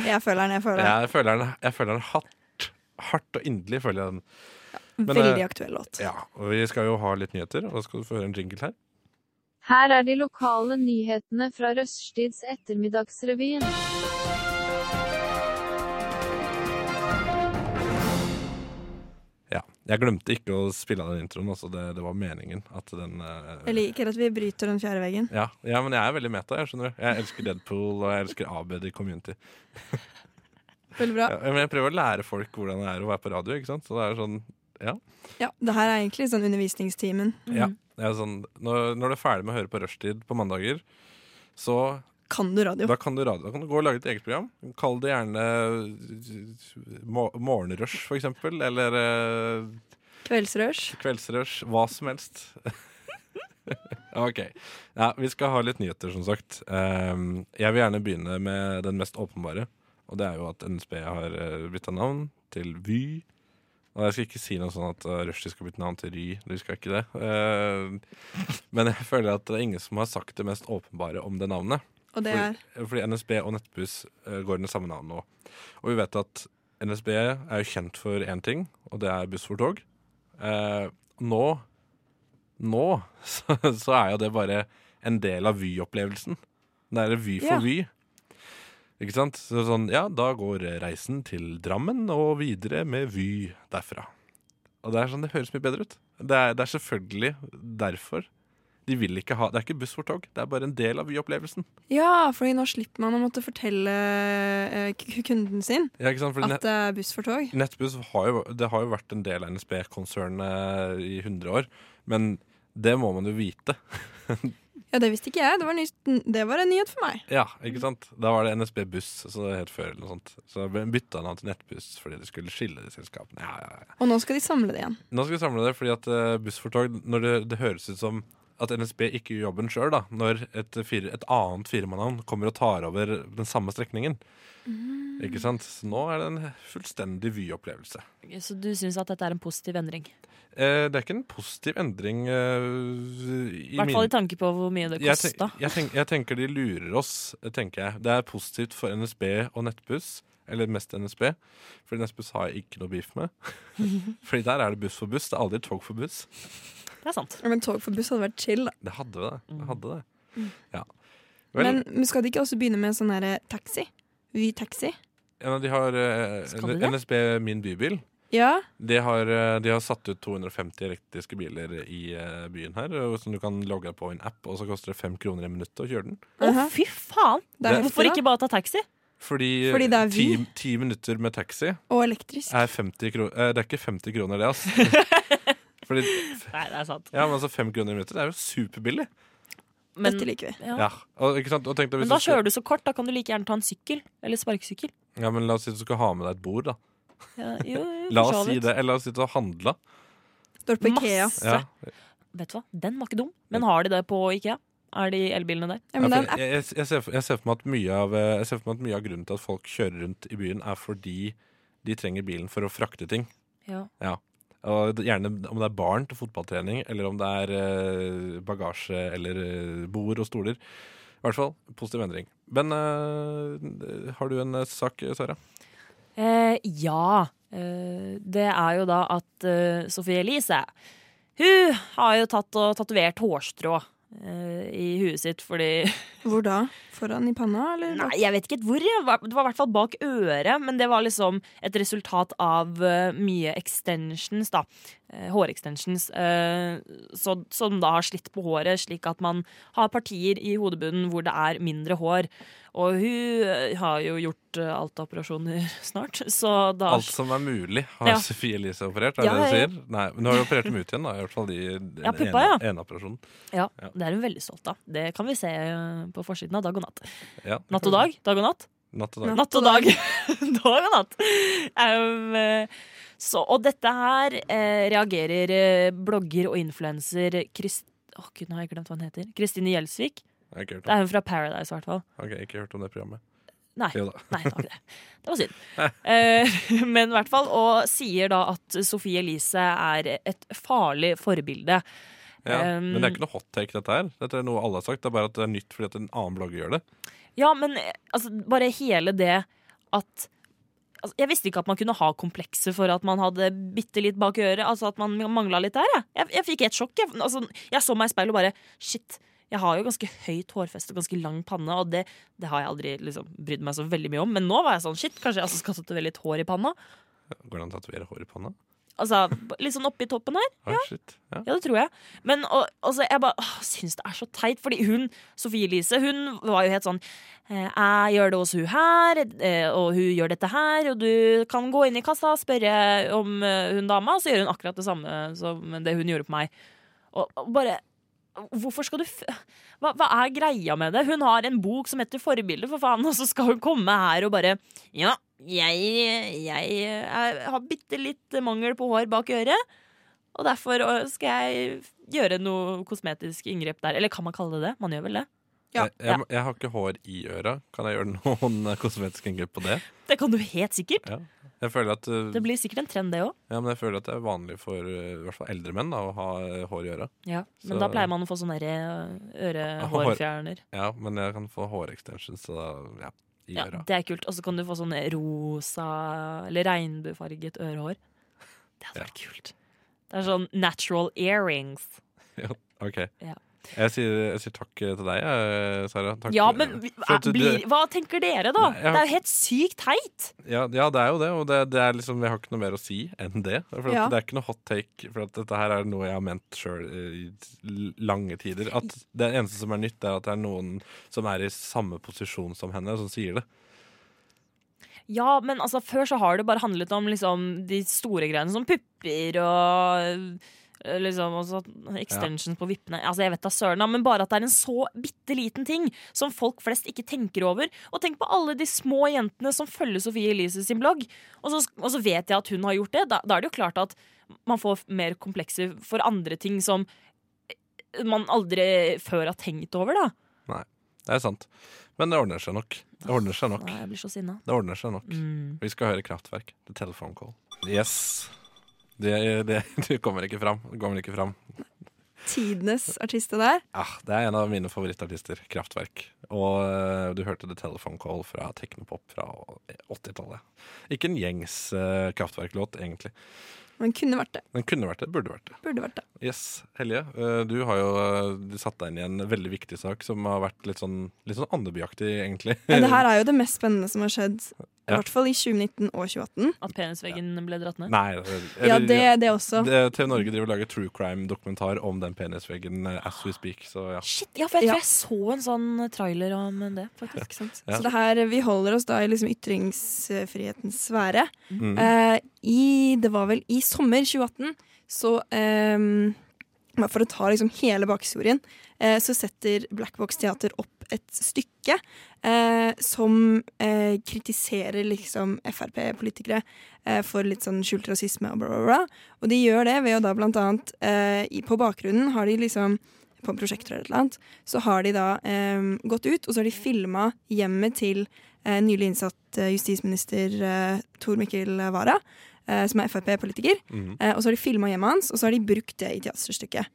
S4: Jeg føler den, jeg føler den.
S3: Jeg føler den, jeg føler den hardt, hardt og inderlig. føler jeg den. men, eh,
S4: Veldig aktuell låt.
S3: Ja, og Vi skal jo ha litt nyheter, og da skal du få høre en jingle her.
S7: Her er de lokale nyhetene fra Røststids ettermiddagsrevyen.
S3: Ja, Jeg glemte ikke å spille av den introen. Altså det, det var meningen at den eh,
S4: Jeg liker at vi bryter den fjerde veggen.
S3: ja, ja, men jeg er veldig meta. Jeg skjønner du. Jeg elsker Deadpool og jeg elsker ABD i Community.
S4: Veldig bra.
S3: Ja, men jeg prøver å lære folk hvordan det er å være på radio. ikke sant? Så det er sånn,
S4: Ja, det her er egentlig sånn undervisningstimen.
S3: ja, det er sånn når, når du er ferdig med å høre på rushtid på mandager, så
S4: Kan du radio?
S3: Da kan du, radio, da kan du gå og lage et eget program. Kall det gjerne eh, mo- Morgenrush, for eksempel. Eller eh,
S4: Kveldsrush.
S3: Kveldsrush. Hva som helst. Ok. Ja, vi skal ha litt nyheter, som sagt. Ehm, jeg vil gjerne begynne med den mest åpenbare. Og det er jo at NSB har bytta navn til Vy. Og jeg skal ikke si noe sånn at eh, Rushdie skal bytte navn til Ry. De skal ikke det. Ehm, men jeg føler at det er ingen som har sagt det mest åpenbare om det navnet.
S4: Og det er
S3: Fordi NSB og Nettbuss eh, går under samme navn nå. Og vi vet at NSB er jo kjent for én ting, og det er buss for tog. Eh, nå nå så, så er jo det bare en del av Vy-opplevelsen. Det er Vy for
S4: Ja.
S3: Vy. Ikke sant? Så sånn, ja, da går reisen til Drammen og videre med Vy derfra. Og det er sånn, det høres mye bedre ut. Det er, det er selvfølgelig derfor. De vil ikke ha, Det er ikke buss for tog, det er bare en del av Vy-opplevelsen.
S4: Ja, fordi nå slipper man å måtte fortelle eh, k- kunden sin
S3: Ja, ikke sant? Fordi
S4: at det er buss for tog.
S3: net Nettbuss har jo, det har jo vært en del av NSB-konsernet i 100 år, men det må man jo vite.
S4: Ja, det visste ikke jeg. Det var, ny, det var en nyhet for meg.
S3: Ja, ikke sant? Da var det NSB Buss, så det het før eller noe sånt. Så bytta han til Nettbuss fordi de skulle skille de selskapene. Ja, ja, ja.
S4: Og nå skal de samle det igjen.
S3: Nå skal vi samle det, fordi at eh, Buss for tog når det, det høres ut som at NSB ikke gjør jobben sjøl, når et, fire, et annet firmanavn kommer og tar over den samme strekningen. Ikke sant? Så nå er det en fullstendig Vy-opplevelse.
S1: Så du syns at dette er en positiv endring?
S3: Eh, det er ikke en positiv endring eh,
S1: I hvert fall i tanke på hvor mye det
S3: jeg, tenk,
S1: kosta.
S3: jeg, tenk, jeg tenker de lurer oss, eh, tenker jeg. Det er positivt for NSB og Nettbuss. Eller mest NSB, Fordi Nettbuss har jeg ikke noe beef med. Fordi der er det buss for buss. Det er aldri tog for buss.
S1: Det er sant.
S4: Ja, Men tog for buss hadde vært chill, da.
S3: Det hadde det.
S1: Mm.
S3: det, hadde det. Ja. Vel,
S4: Men, men skal de ikke også begynne med sånn her eh, taxi? Vy-taxi?
S3: en av de har eh,
S1: Skal de det?
S3: NSB Min bybil.
S4: Ja.
S3: De har, eh, de har satt ut 250 elektriske biler i eh, byen her, og som du kan logge deg på i en app. Og så koster det fem kroner i minuttet å kjøre den.
S1: Å,
S4: aha.
S1: fy faen!
S4: Uh-huh. Det er
S3: Det-
S1: Hvorfor
S4: heftig, da.
S1: ikke bare ta taxi?
S3: Fordi,
S4: Fordi det er
S3: ti,
S4: Vy.
S3: ti minutter med taxi
S4: Og elektrisk.
S3: er 50 kroner Det er ikke 50 kroner, det, altså. Fordi,
S1: Nei, det er sant.
S3: ja, men altså Fem kroner i minuttet det er jo superbillig.
S1: Men,
S4: Dette liker vi.
S3: Ja.
S1: ja.
S3: Og, ikke sant? Og tenk deg hvis
S1: men da
S3: du skal,
S1: kjører du så kort, da kan du like gjerne ta en sykkel. Eller sparkesykkel.
S3: Ja, men La oss si du skal ha med deg et bord. da
S1: Ja, jo, jo,
S3: La
S1: Mm, for så
S3: oss si
S1: vidt.
S3: det, Eller la oss si du har handla.
S4: Står på Ikea.
S1: Masse.
S3: Ja.
S1: Vet du hva, den var ikke dum. Men har de det på IKEA? Er de elbilene der?
S4: Ja,
S3: Ja,
S4: men det er
S3: for
S4: en app.
S3: jeg, jeg, jeg, ser for, jeg ser for meg at mye av eh, Jeg ser for meg at mye av grunnen til at folk kjører rundt i byen, er fordi de trenger bilen for å frakte ting.
S1: Ja.
S3: Og det- gjerne om det er barn til fotballtrening, eller om det er eh, bagasje eller eh, bord og stoler. I hvert fall positiv endring. Men eh, har du en eh, sak, Sara?
S1: Eh, ja. Eh, det er jo da at eh, Sophie Elise Hun har jo tatt og tatovert hårstrå eh, i huet sitt fordi
S4: Hvor da? Foran i panna, eller?
S1: Nei, jeg vet ikke helt hvor. jeg var- Det var i hvert fall bak øret, men det var liksom et resultat av eh, mye extensions, da. Eh, Hårextensions. eh, så- Som da har slitt på håret, slik at man har partier i hodebunnen hvor det er mindre hår. Og hun eh, har jo gjort eh, alt av operasjoner snart, så da
S3: Alt som er mulig har
S1: Ja.
S3: Sofie Elise operert, er
S1: Ja,
S3: det du
S1: ja, ja.
S3: sier? Nei, men hun har jo operert dem ut igjen, da. I hvert fall de, den
S1: Ja, puppa,
S3: ene,
S1: ja.
S3: ene operasjonen.
S1: Ja,
S3: Ja.
S1: det er hun veldig stolt av. Det kan vi se eh, på forsiden av Dag og Natt.
S3: Ja.
S1: Natt og dag, dag og natt.
S3: Natt og dag.
S1: Natt og dag. dag og natt. Um, eh, så, og dette her eh, reagerer eh, blogger og influenser Krist... Å, gud, nå har jeg glemt hva hun heter. Kristine Gjelsvik.
S3: Jeg har ikke hørt
S1: Det
S3: om,
S1: er hun fra Paradise, i hvert fall.
S3: ok, ikke hørt om det programmet.
S1: Nei.
S3: Jo da.
S1: Nei, det var ikke det. Det var synd. Eh, men i hvert fall, og sier da at Sophie Elise er et farlig forbilde.
S3: Ja.
S1: Um,
S3: Men det er ikke noe hot take, dette her. Dette er noe alle har sagt. Det er bare at det er nytt fordi at en annen blogger gjør det.
S1: Ja, men eh, altså, bare hele det at altså, Jeg visste ikke at man kunne ha komplekser for at man hadde bitte litt bak øret. Altså at man mangla litt der. Jeg, jeg, jeg fikk helt sjokk. Jeg, altså, jeg så meg i speilet og bare Shit. Jeg har jo ganske høyt hårfeste og ganske lang panne, og det, det har jeg aldri liksom, brydd meg så veldig mye om. Men nå var jeg sånn Shit, kanskje jeg altså skal tatovere litt hår i panna?
S3: Går det an å tatovere hår i panna?
S1: Altså, Litt sånn oppi toppen her.
S3: Ah, shit. Ja.
S1: Ja, det tror jeg. Men og, altså, jeg bare åh, syns det er så teit, fordi hun Sofie Elise hun var jo helt sånn eh, Jeg gjør det hos hun her, eh, og hun gjør dette her, og du kan gå inn i kassa og spørre om eh, hun dama, og så gjør hun akkurat det samme som det hun gjorde på meg. Og, og bare Hvorfor skal du f hva, hva er greia med det? Hun har en bok som heter Forbilde, for faen, og så skal hun komme her og bare Ja, jeg, jeg, eh, er- har bitte litt mangel på hår bak øret. Og derfor øh, skal jeg gjøre noe kosmetisk inngrep der. Eller kan man kalle det det? Man gjør vel det?
S4: Ja.
S3: Jeg, Eh, jeg, må- jeg har ikke hår i øra. Kan jeg gjøre noen eh, kosmetiske inngrep på det?
S1: Det kan du helt sikkert.
S3: Jeg føler at, eh,
S1: Det blir sikkert en trend, det òg.
S3: ja, men jeg føler at det er vanlig for eh, i hvert fall eldre menn da, å ha eh, hår i øra.
S1: Ja,
S3: Så-
S1: men da pleier man å få sånne der, øh, ørehårfjerner.
S3: Ja, men jeg kan få hårextensions så da, ja, i
S1: Ja,
S3: øra.
S1: det er kult. Og så kan du få sånn rosa eller regnbuefarget ørehår. Det hadde
S3: Ja.
S1: vært kult. Det er sånn natural earrings.
S3: Ok.
S1: Ja.
S3: Jeg, sier, jeg sier takk eh, til deg, jeg, Sara. Takk.
S1: Ja, men vi-
S3: For at du-
S1: blir, hva tenker dere, da?
S3: Nei, jeg-
S1: Det er jo helt sykt teit!
S3: Ja, ja, det er jo det, og det, det er liksom, jeg har ikke noe mer å si enn det. For at
S4: Ja.
S3: Det er ikke noe hot take, for at dette her er noe jeg har ment sjøl i l- lange tider. At Det eneste som er nytt, er at det er noen som er i samme posisjon som henne, som sier det.
S1: Ja, men altså, før så har det bare handlet om liksom, de store greiene som pupper og øh, Liksom, og så extensions på vippene. Altså, jeg vet da søren, da, men bare at det er en så bitte liten ting som folk flest ikke tenker over. Og tenk på alle de små jentene som følger Sofie Elise sin blogg. Og så, og så vet jeg at hun har gjort det. Da, da er det jo klart at man får mer komplekser for andre ting som eh, man aldri før har tenkt over, da.
S3: Det er sant. Men det ordner seg nok. Det ordner seg nok.
S1: Nei, jeg blir så sinna.
S3: Det ordner seg nok.
S1: Mm.
S3: Vi skal høre Kraftverk. The Telephone Call. Yes. Det, det, det kommer ikke fram. Det kommer ikke fram.
S4: Tidenes artiste der.
S3: Ah, det er en av mine favorittartister, Kraftverk. Og eh, du hørte The Telephone Call fra Teknopop fra 80-tallet. Ikke en gjengs eh, Kraftverk-låt, egentlig.
S4: Men kunne vært det.
S3: Den kunne vært det, burde vært det.
S4: Burde vært det.
S3: Yes, Hellige, eh, du har jo eh, du satt deg inn i en veldig viktig sak som har vært litt sånn, litt sånn andebyaktig, egentlig.
S4: Men det her er jo det mest spennende som har skjedd, i
S3: Ja.
S4: hvert fall i 2019 og 2018.
S1: At penisveggen ble dratt ned?
S3: Nei, eller,
S4: Ja, det, det også.
S3: det, TV Norge driver og lager true crime-dokumentar om den penisveggen eh, as we speak, så ja.
S1: Shit, ja, for jeg tror
S4: Ja.
S1: jeg så en sånn trailer om det. faktisk.
S4: Ikke sant?
S3: Ja.
S4: Så det her, vi holder oss da i liksom ytringsfrihetens sfære.
S3: Mm.
S4: Eh, i, det var vel i sommer 2018, så ehm, bare For å ta liksom hele bakhistorien, eh, så setter Black Box Teater opp et stykke eh, som eh, kritiserer liksom Frp-politikere eh, for litt sånn skjult rasisme og bla, bla, bla. Og de gjør det ved å da blant annet eh, i, På bakgrunnen har de liksom på en prosjektor eller et eller annet, så har de da ehm, gått ut, og så har de filma hjemmet til eh, nylig innsatt eh, justisminister eh, Tor Mikkel Wara, eh, som er Frp-politiker.
S3: Mhm.
S4: Eh, og så har de filma hjemmet hans, og så har de brukt det i teaterstykket.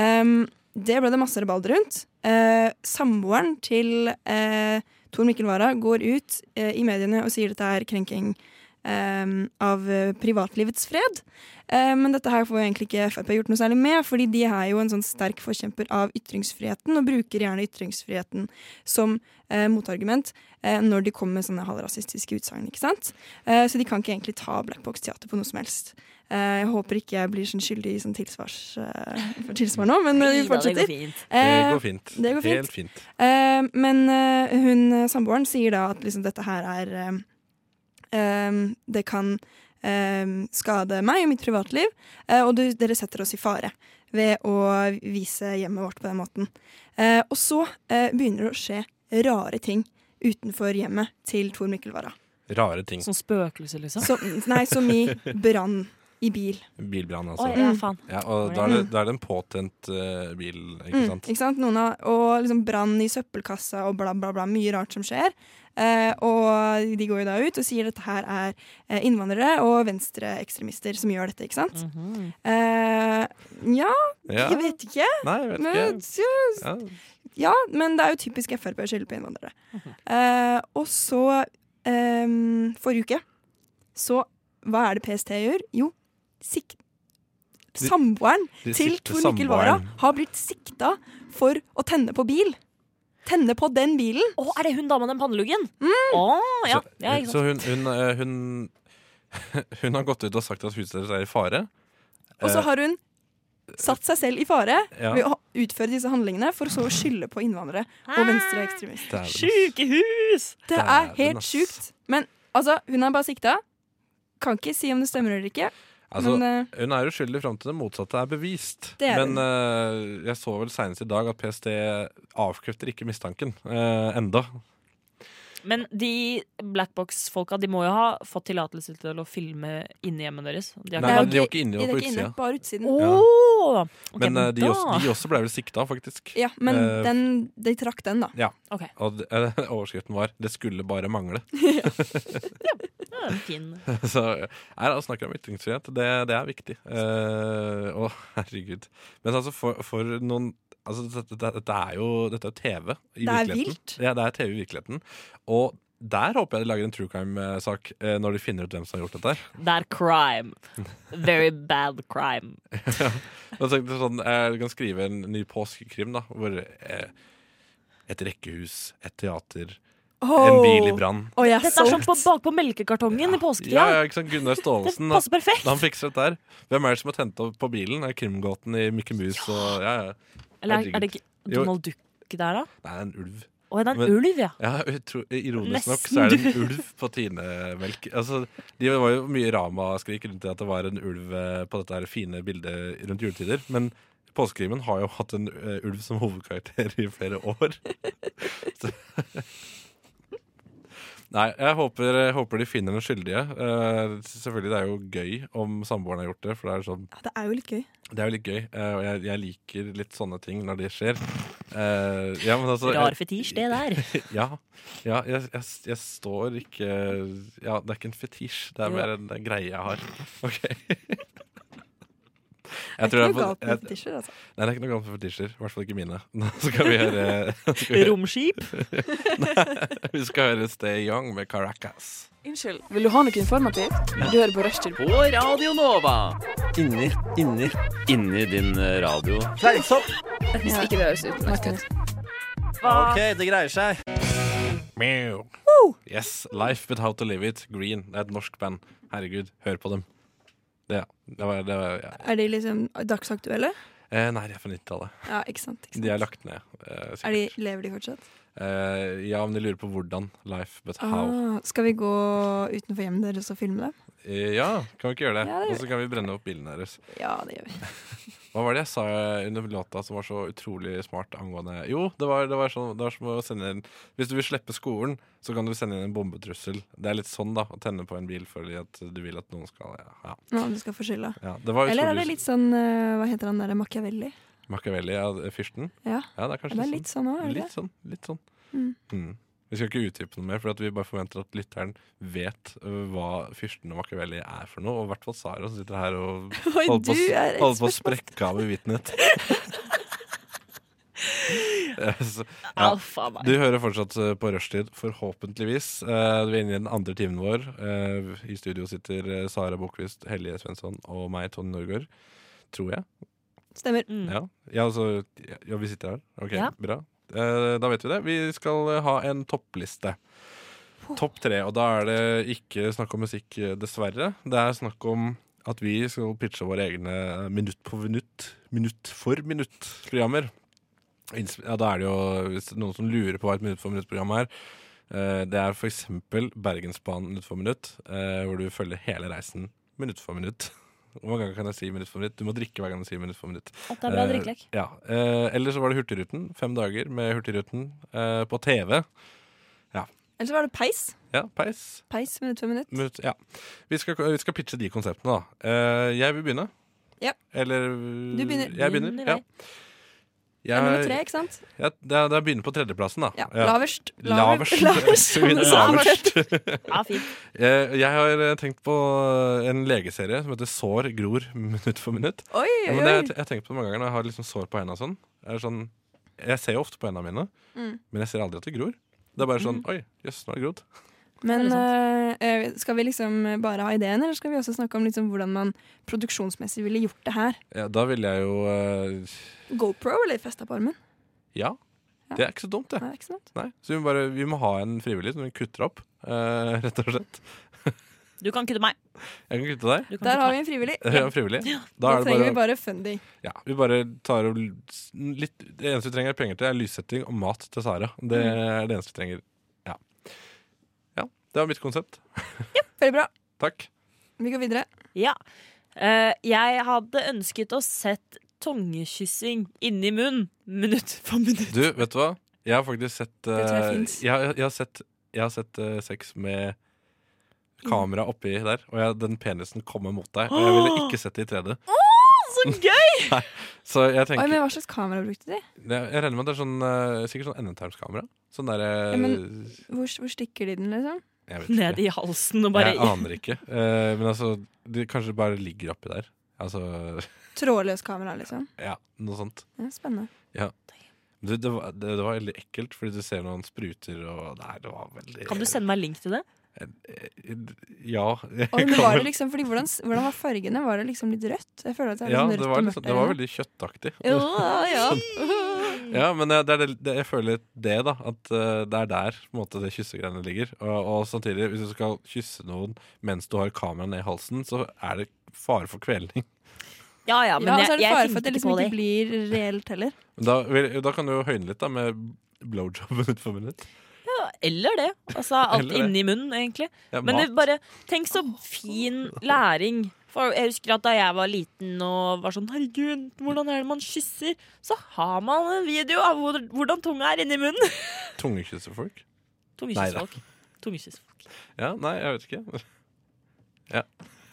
S4: Ehm, det ble det masse rabalder rundt. Eh, samboeren til eh, Tor Mikkel Wara går ut eh, i mediene og sier dette er krenking ehm, av eh, privatlivets fred. Eh, men dette her får jo egentlig ikke Frp gjort noe særlig med, fordi de er jo en sånn sterk forkjemper av ytringsfriheten, og bruker gjerne ytringsfriheten som eh, motargument eh, når de kommer med sånne halvrasistiske utsagn. ikke sant? Eh, så de kan ikke egentlig ta Black Box Teater på noe som helst. Eh, jeg håper ikke jeg blir sånn skyldig i sånn tilsvars, eh, for tilsvar nå, men vi
S1: Ida, Det
S4: fortsetter.
S1: går fint.
S3: Det
S4: Eh,
S3: går fint.
S4: det går fint.
S3: Helt fint.
S4: Eh, men eh, hun eh, samboeren sier da at liksom dette her er eh, eh, Det kan eh, skade meg og mitt privatliv, eh, og du, dere setter oss i fare ved å vise hjemmet vårt på den måten. Eh, og så eh, begynner det å skje rare ting utenfor hjemmet til Tor Mikkel Wara.
S3: Rare ting.
S1: Sånn spøkelse, liksom.
S4: Som, nei, som i brann i bil.
S3: Bilbrann, altså.
S1: Å ja, faen.
S3: Ja, og da er det, da er det en påtent eh, bil, ikke
S4: Mm,
S3: sant?
S4: ikke sant? Noen av, og liksom brann i søppelkassa og bla, bla, bla. Mye rart som skjer. Eh, og de går jo da ut og sier at dette her er eh, innvandrere og venstreekstremister som gjør dette, ikke sant?
S1: Mhm.
S4: Eh, ja,
S3: Ja.
S4: jeg vet ikke.
S3: Nei, jeg vet
S4: Men,
S3: ikke. Ja.
S4: ja, men det er jo typisk Frp å skylde på innvandrere. Eh, og så eh, Forrige uke, så hva er det PST gjør? Jo, sikt...
S3: De-
S4: Samboeren
S3: De
S4: til
S3: sikter
S4: Tor Mikkel Wara
S3: samboeren.
S4: har blitt sikta for å tenne på bil. Tenne på den bilen.
S1: Å, er det hun dama med den panneluggen? Å, ja. ja ikke
S3: Så
S1: sant.
S3: hun, hun, eh, hun, hun har gått ut og sagt at huset deres er i fare.
S4: Og så har hun satt seg selv i fare
S3: Eh, Ja.
S4: ved å ha- utføre disse handlingene, for så å skylde på innvandrere
S1: Ah.
S4: og venstreekstremister.
S3: Dæven, ass.
S1: Sjukehus!
S4: Det er
S3: Dæven,
S4: helt
S3: ass.
S4: sjukt. Men altså, hun er bare sikta. Kan ikke si om det stemmer eller ikke.
S3: Altså,
S4: men, eh,
S3: hun er uskyldig fram til det motsatte er bevist.
S4: Det er
S3: Men eh, jeg eh, så vel senest i dag at PST avkrefter ikke mistanken uh, enda.
S1: Men de blackbox-folka de må jo ha fått tillatelse til å filme inni hjemmet deres. De
S3: Nei,
S1: har
S4: Det er
S3: men de var
S4: jo ikke-
S3: ikke inne,
S4: De
S3: de
S4: er
S3: var på
S4: ikke inne,
S3: utsida.
S4: bare utsiden.
S1: Åh! Ok,
S3: Men eh, de,
S1: da-
S3: også, de også ble vel sikta, faktisk.
S4: Ja, men
S3: Eh,
S4: den, de trakk den, da.
S1: Ok,
S3: Og det- eh, overskriften var 'Det skulle bare mangle'.
S1: det er en fin.
S3: Så nei, da snakker jeg om ytringsfrihet. Det, det er viktig. Eh, å, herregud. Men altså, for, for noen Altså, dette, dette- dette er jo dette er TV i
S4: Det er
S3: virkeligheten.
S4: vilt.
S3: Ja, det er TV i virkeligheten. Og der håper jeg de lager en true crime-sak eh, når de finner ut hvem som har gjort dette. her
S1: Det er crime. Very bad crime.
S3: Jeg tenkte sånn, eh, Du kan skrive en ny påskekrim, da. Hvor eh, et rekkehus, et teater, en bil i brann.
S4: Å, jeg
S1: Dette er som
S4: solgt.
S1: på, bakpå melkekartongen i påsketida.
S3: Ja, ja, ikke sant? Gunnar
S1: Det
S3: Staalesen.
S1: passer
S3: da.
S1: perfekt.
S3: Han fikser dette her. Hvem er det som har tent opp på bilen? Er Krimgåten i Mikke Mus og ja, ja.
S1: Eller er, er det ikke
S3: Jo.
S1: Donald Duck der, da?
S3: Nei, en ulv.
S1: Å, er det en
S3: Men-
S1: ulv, ja?
S3: Ja, utro, ironisk
S1: Nesten
S3: nok så er det
S1: du.
S3: en ulv på tinemelk. Altså, det var jo mye ramaskrik rundt det at det var en ulv eh, på dette her fine bildet rundt juletider. Men Påskekrimen har jo hatt en eh, ulv som hovedkarakter i flere år. Så. Nei, jeg håper, jeg håper de finner den skyldige. Eh, selvfølgelig, det er jo gøy om samboeren har gjort det. For det er sånn
S4: Ja, Det er jo litt gøy.
S3: Det er jo litt gøy, eh, og jeg, jeg liker litt sånne ting når det skjer. Eh, ja, men altså,
S1: Rar fetisj, det der.
S3: Ja, ja jeg, jeg, jeg står ikke Ja, det er ikke en fetisj, det er
S1: Jo.
S3: mer en greie jeg har. Ok.
S4: Det
S3: Jeg
S4: er
S3: tror
S4: ikke
S3: jeg
S4: noe
S3: får-
S4: galt med
S3: jeg-
S4: fetisjer, altså.
S3: Nei, det er ikke noe galt med fetisjer. I hvert fall ikke mine. Nå skal vi høre, skal vi,
S1: Romskip.
S3: høre- vi skal høre Stay Young med Caracas.
S5: Unnskyld, vil du ha noe informativt? Du hører på Rushtid.
S8: På Radio Nova. Inni, inni, inni din eh, radio. Fleisopp!
S5: Hvis ikke det høres ut. Martin.
S8: Ok, det greier seg.
S3: Meow. Yes, Life But How To Live It, Green. Det er et norsk band. Herregud, hør på dem. Det, det var, det var ja.
S4: Er de liksom dagsaktuelle?
S3: eh, Nei, de er fra 90-tallet.
S4: Ja, ikke sant. Ikke sant.
S3: De er lagt ned. Eh,
S4: Er de,
S3: sikkert.
S4: lever de fortsatt?
S3: eh, ja, men de lurer på hvordan. Life But How.
S4: Ah, skal vi gå utenfor hjemmet deres og filme det?
S3: Eh, ja, kan vi ikke gjøre det?
S4: Ja, det gjør
S3: Og så kan vi brenne opp bilen deres.
S4: Ja, det gjør vi.
S3: Hva var det jeg sa under låta som var så utrolig smart angående Jo, det var, det var, sånn, det var som å sende inn Hvis du vil slippe skolen, så kan du sende inn en bombetrussel. Det er litt sånn, da. Å tenne på en bil fordi at du vil at noen skal Ja. ja.
S4: Nå, du skal få skylda.
S3: ja. Det var
S4: Eller er det
S3: utrolig-
S4: litt sånn eh, Hva heter han der? Machiavelli?
S3: Machiavelli, ja, fyrsten?
S4: Ja.
S3: Ja, det er kanskje
S4: Det er litt sånn òg, er det
S3: litt sånn. Litt sånn.
S4: Mm.
S3: Mm. Vi skal ikke utdype noe mer, for at vi bare forventer at lytteren vet øh, hva fyrsten og Machiavelli er for noe. Og i hvert fall Sara som sitter her og
S4: ikke? Oi,
S3: holder
S4: du
S3: på, å s-
S4: er
S3: holder på å
S4: ekspert.
S3: sprekke av i vitnet. Eh, Så-
S1: Ja.
S3: Ja.
S1: faen meg.
S3: Du hører fortsatt eh, på rushtid, forhåpentligvis. Eh, Vi er inne i den andre timen vår. Eh, I studio sitter eh, Sara Bokvist, Hellige Svensson og meg, Tony Norgård. Tror jeg.
S4: Stemmer.
S1: Mm.
S3: Ja, ja, altså, ja vi sitter her. Ok,
S1: Ja.
S3: bra. Eh, da vet vi det. Vi skal eh, ha en toppliste. Topp tre. Og da er det ikke snakk om musikk, eh, dessverre. Det er snakk om at vi skal pitche våre egne eh, minutt på minutt, minutt for minutt-programmer. Innsp- Ja, da er det jo hvis det er noen som lurer på hva et minutt for minutt-program er. eh, Det er f.eks. Bergensbanen minutt for minutt, eh, hvor du følger hele reisen minutt for minutt. Hvor mange ganger kan jeg si minutt for minutt? Du må drikke hver gang du sier minutt for minutt.
S1: Å, Det er bra
S3: Eh,
S1: drikkelek.
S3: Ja. Eh, eller så var det Hurtigruten. Fem dager med Hurtigruten eh, på TV.
S4: Eller så var det peis.
S3: Ja, peis.
S4: Peis minutt for minutt.
S3: Mut, ja. vi, skal, vi skal pitche de konseptene, da. Eh, jeg vil begynne.
S4: Ja.
S3: Eller
S4: Du begynner.
S3: Jeg begynner.
S1: Begynn i
S3: ja.
S1: vei.
S4: Det er nummer
S3: Jeg,
S4: tre, ikke sant?
S3: ja, det, er, det er begynne på tredjeplassen, da.
S4: Ja.
S3: Ja.
S4: Laverst.
S3: Laverst.
S4: Laverst.
S3: Vi begynner
S4: Laverst.
S3: laverst.
S1: Ja, fint.
S3: Eh, jeg har eh, tenkt på en legeserie som heter Sår gror minutt for minutt.
S4: Oi,
S3: Ja,
S4: oi,
S3: men det,
S4: oi.
S3: jeg, jeg tenker på det mange ganger når jeg har liksom sår på hendene og sånn. Jeg, er sånn, jeg ser jo ofte på hendene mine,
S4: Mm.
S3: men jeg ser aldri at det gror. Det er bare sånn Oi, jøss, nå har det grodd.
S4: Men
S1: Er det
S4: eh, skal vi liksom bare ha ideen, eller skal vi også snakke om liksom hvordan man produksjonsmessig ville gjort det her?
S3: Ja, da ville jeg jo eh,
S4: GoPro eller festa på armen?
S3: Ja.
S4: Ja.
S3: Det er ikke så dumt, det.
S4: Nei, ikke sant?
S3: Nei. Så vi må, bare, vi må ha en frivillig som vi kutter opp, eh, rett og slett.
S1: Du kan kutte meg.
S3: Jeg kan kutte deg.
S1: Du kan
S4: Der
S1: kutte
S4: har
S1: meg.
S4: vi en frivillig.
S3: Ja, frivillig. Da
S4: Da
S3: er det
S4: trenger vi
S3: bare,
S4: bare funding.
S3: ja, vi bare tar og l- s- litt, Det eneste vi trenger penger til, er lyssetting og mat til Sara. Det
S4: Mm.
S3: er det eneste vi trenger. Ja. ja. Det var mitt konsept.
S4: Veldig bra.
S3: Takk.
S4: Vi går videre.
S1: Ja. Eh, jeg hadde ønsket å sett tungekyssing inni munnen minutt for minutt.
S3: Du, vet du hva? Jeg har faktisk sett
S4: tror jeg
S3: eh,
S4: finnes.
S3: jeg, jeg har sett Jeg har sett eh, sex med kamera oppi der, og jeg, den penisen kommer mot deg. Og jeg ville ikke sett det i 3D.
S1: Så gøy!
S3: Så jeg
S4: Oi,
S3: tenker
S4: men Hva slags kamera brukte de?
S3: Jeg, jeg regner med at det er sånn, eh, sikkert sånn endetarmskamera. Sånn derre
S4: Ja, men- Hvor, hvor stikker de den, liksom?
S3: Jeg vet
S1: Ned
S3: ikke.
S1: i halsen og bare
S3: Jeg aner ikke. Eh, men altså, det kanskje bare ligger oppi der. Altså
S4: Trådløs kamera, liksom.
S3: Ja, noe sånt.
S4: Ja, spennende.
S3: Det, det, var, det, det var veldig ekkelt, fordi du ser noen spruter og Nei, det var veldig Eh,
S1: Kan du sende meg link til det?
S3: Ja. jeg
S4: Oi, men
S3: kan
S4: var
S3: vel-
S4: det liksom, fordi hvordan, hvordan var fargene? Var det liksom litt rødt? Jeg føler at det er
S3: ja,
S4: sånn rødt
S3: det var,
S4: og
S3: liksom,
S4: mørkt
S3: det
S4: der
S3: var
S4: inne.
S3: veldig kjøttaktig.
S1: ja.
S3: Ja, men eh, det er det, det, jeg føler det, da. At eh, det er der på en måte, det kyssegreiene ligger. Og, og samtidig, hvis du skal kysse noen mens du har kameraet ned i halsen, så er det fare for kvelning.
S1: Ja, ja, men
S4: ja, og så
S1: jeg,
S4: er det
S1: jeg
S4: fare for at
S1: tenkte ikke
S4: det liksom
S1: på det.
S4: ikke blir reelt heller.
S3: Da, vil- da kan du jo høyne litt da med blowjob minutt for minutt.
S1: Eller det. Altså alt
S3: Eller det.
S1: inni munnen, egentlig.
S3: Ja,
S1: Men
S3: mat.
S1: det bare, tenk så fin læring. For jeg husker at Da jeg var liten og var sånn 'herregud, hvordan er det man kysser?' Så har man en video av hvor- hvordan tunga er inni munnen.
S3: Tungekysse folk?
S1: Tungekyssfolk. Tungekyssfolk.
S3: Ja, nei, jeg vet ikke.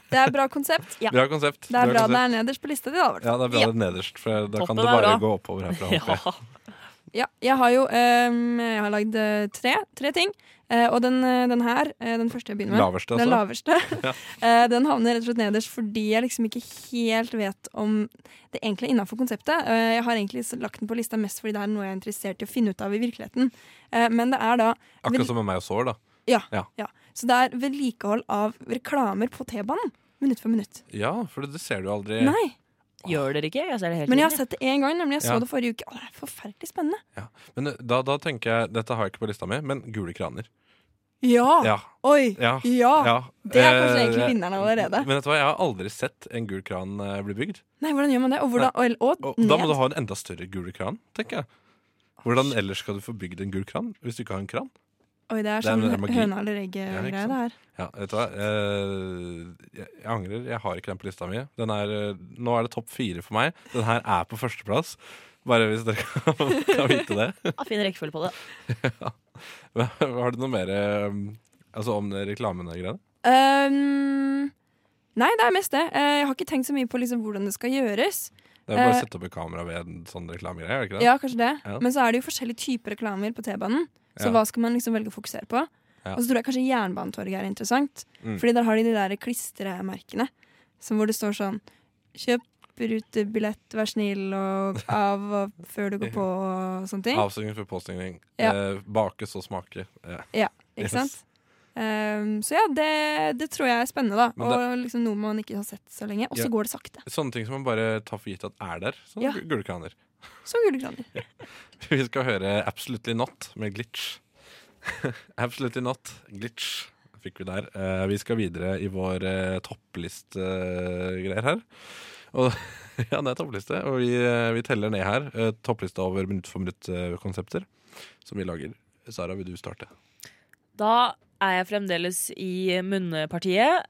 S4: Det er bra konsept.
S1: Ja.
S3: Bra konsept.
S4: Det er bra det
S3: konsept.
S4: er nederst på lista di, da. i hvert fall.
S3: Ja, det er bra
S1: Ja.
S3: det er nederst, for da
S1: Toppen
S3: kan det
S1: er
S3: bare
S1: bra.
S3: gå oppover herfra.
S1: Ja.
S3: håper jeg.
S4: Ja, jeg har jo øhm, jeg har lagd øh, tre, tre ting. Eh, og den, øh, den her, øh, den første jeg begynner med,
S3: Laverste,
S4: den
S3: altså.
S4: laverste, eh, den havner rett og slett nederst fordi jeg liksom ikke helt vet om det egentlig er innafor konseptet. Eh, jeg har egentlig s- lagt den på lista mest fordi det er noe jeg er interessert i å finne ut av i virkeligheten. Eh, men det er da
S3: Akkurat som med meg og sår, da.
S4: Så det er vedlikehold av reklamer på T-banen. Minutt for minutt.
S3: Ja, for det, det ser du aldri.
S4: Nei,
S1: Gjør dere ikke? Jeg ser det hele
S4: Men jeg har
S1: tiden,
S4: sett det én gang, nemlig. Jeg så
S3: Ja.
S4: det forrige uke. Å, det er forferdelig spennende.
S3: Men eh, da, da tenker jeg, dette har jeg ikke på lista mi, men gule kraner.
S4: Ja!
S3: Ja,
S4: Oi!
S3: ja,
S4: Ah. Ja!
S3: ja.
S4: Det er kanskje
S3: Eh,
S4: egentlig vinneren allerede.
S3: Men vet du hva, jeg har aldri sett en gul kran eh, bli bygd.
S4: Nei, hvordan gjør man det? Og, hvordan, og, og,
S3: Og
S4: ned.
S3: da må du ha en enda større gul kran, tenker jeg. Hvordan ellers skal du få bygd en gul kran hvis du ikke har en kran?
S4: Oi, det er
S3: Det er-
S4: sånn
S3: det er magi.
S4: høna eller
S3: Ja, ikke
S4: egget-greie,
S3: sant?
S4: det her.
S3: Ja, vet du hva? Eh, jeg, jeg angrer. Jeg har ikke den på lista mi. Den er, eh, nå er det topp fire for meg. Den her er på førsteplass. Bare hvis dere kan, kan vite det.
S1: jeg. Fin rekkefølge på det.
S3: Men Har du noe mer eh, altså, om det reklamen og greiene?
S4: Øhm, Ehm, nei, det er mest det. Eh, Jeg har ikke tenkt så mye på liksom hvordan det skal gjøres.
S3: Det er bare
S4: Eh.
S3: å sette opp et kamera ved en sånn reklamegreie. er det ikke det?
S4: Ja, kanskje det.
S3: Ja.
S4: Men så er det jo forskjellige typer reklamer på T-banen. Så
S3: Ja.
S4: hva skal man liksom velge å fokusere på?
S3: Ja.
S4: Og så tror jeg kanskje Jernbanetorget er interessant.
S3: Mm.
S4: Fordi der har de de der klistremerkene som hvor det står sånn Kjøp rutebillett, vær snill, og av og før du går på, og sånne ting.
S3: Avsugning for påstigning.
S4: Ja.
S3: Eh, bakes og smake. Ja.
S4: Ikke
S3: Yes.
S4: sant? Ehm, så ja, det, det tror jeg er spennende, da.
S3: Men det-
S4: og liksom noe man ikke har sett så lenge. Og så
S3: Ja.
S4: går det sakte.
S3: Sånne ting som man bare tar for gitt at er der. Sånn
S4: Ja.
S3: gu- gule kraner.
S4: Som gulekraner.
S3: Vi skal høre 'Absolutely Not' med Glitch. 'Absolutely Not', Glitch fikk vi der. Eh, vi skal videre i vår uh, topplistegreier her. Og, ja, det er toppliste, og vi, eh, vi teller ned her. eh, toppliste over minutt for minutt-konsepter som vi lager. Sara, vil du starte?
S1: Da er jeg fremdeles i munnpartiet.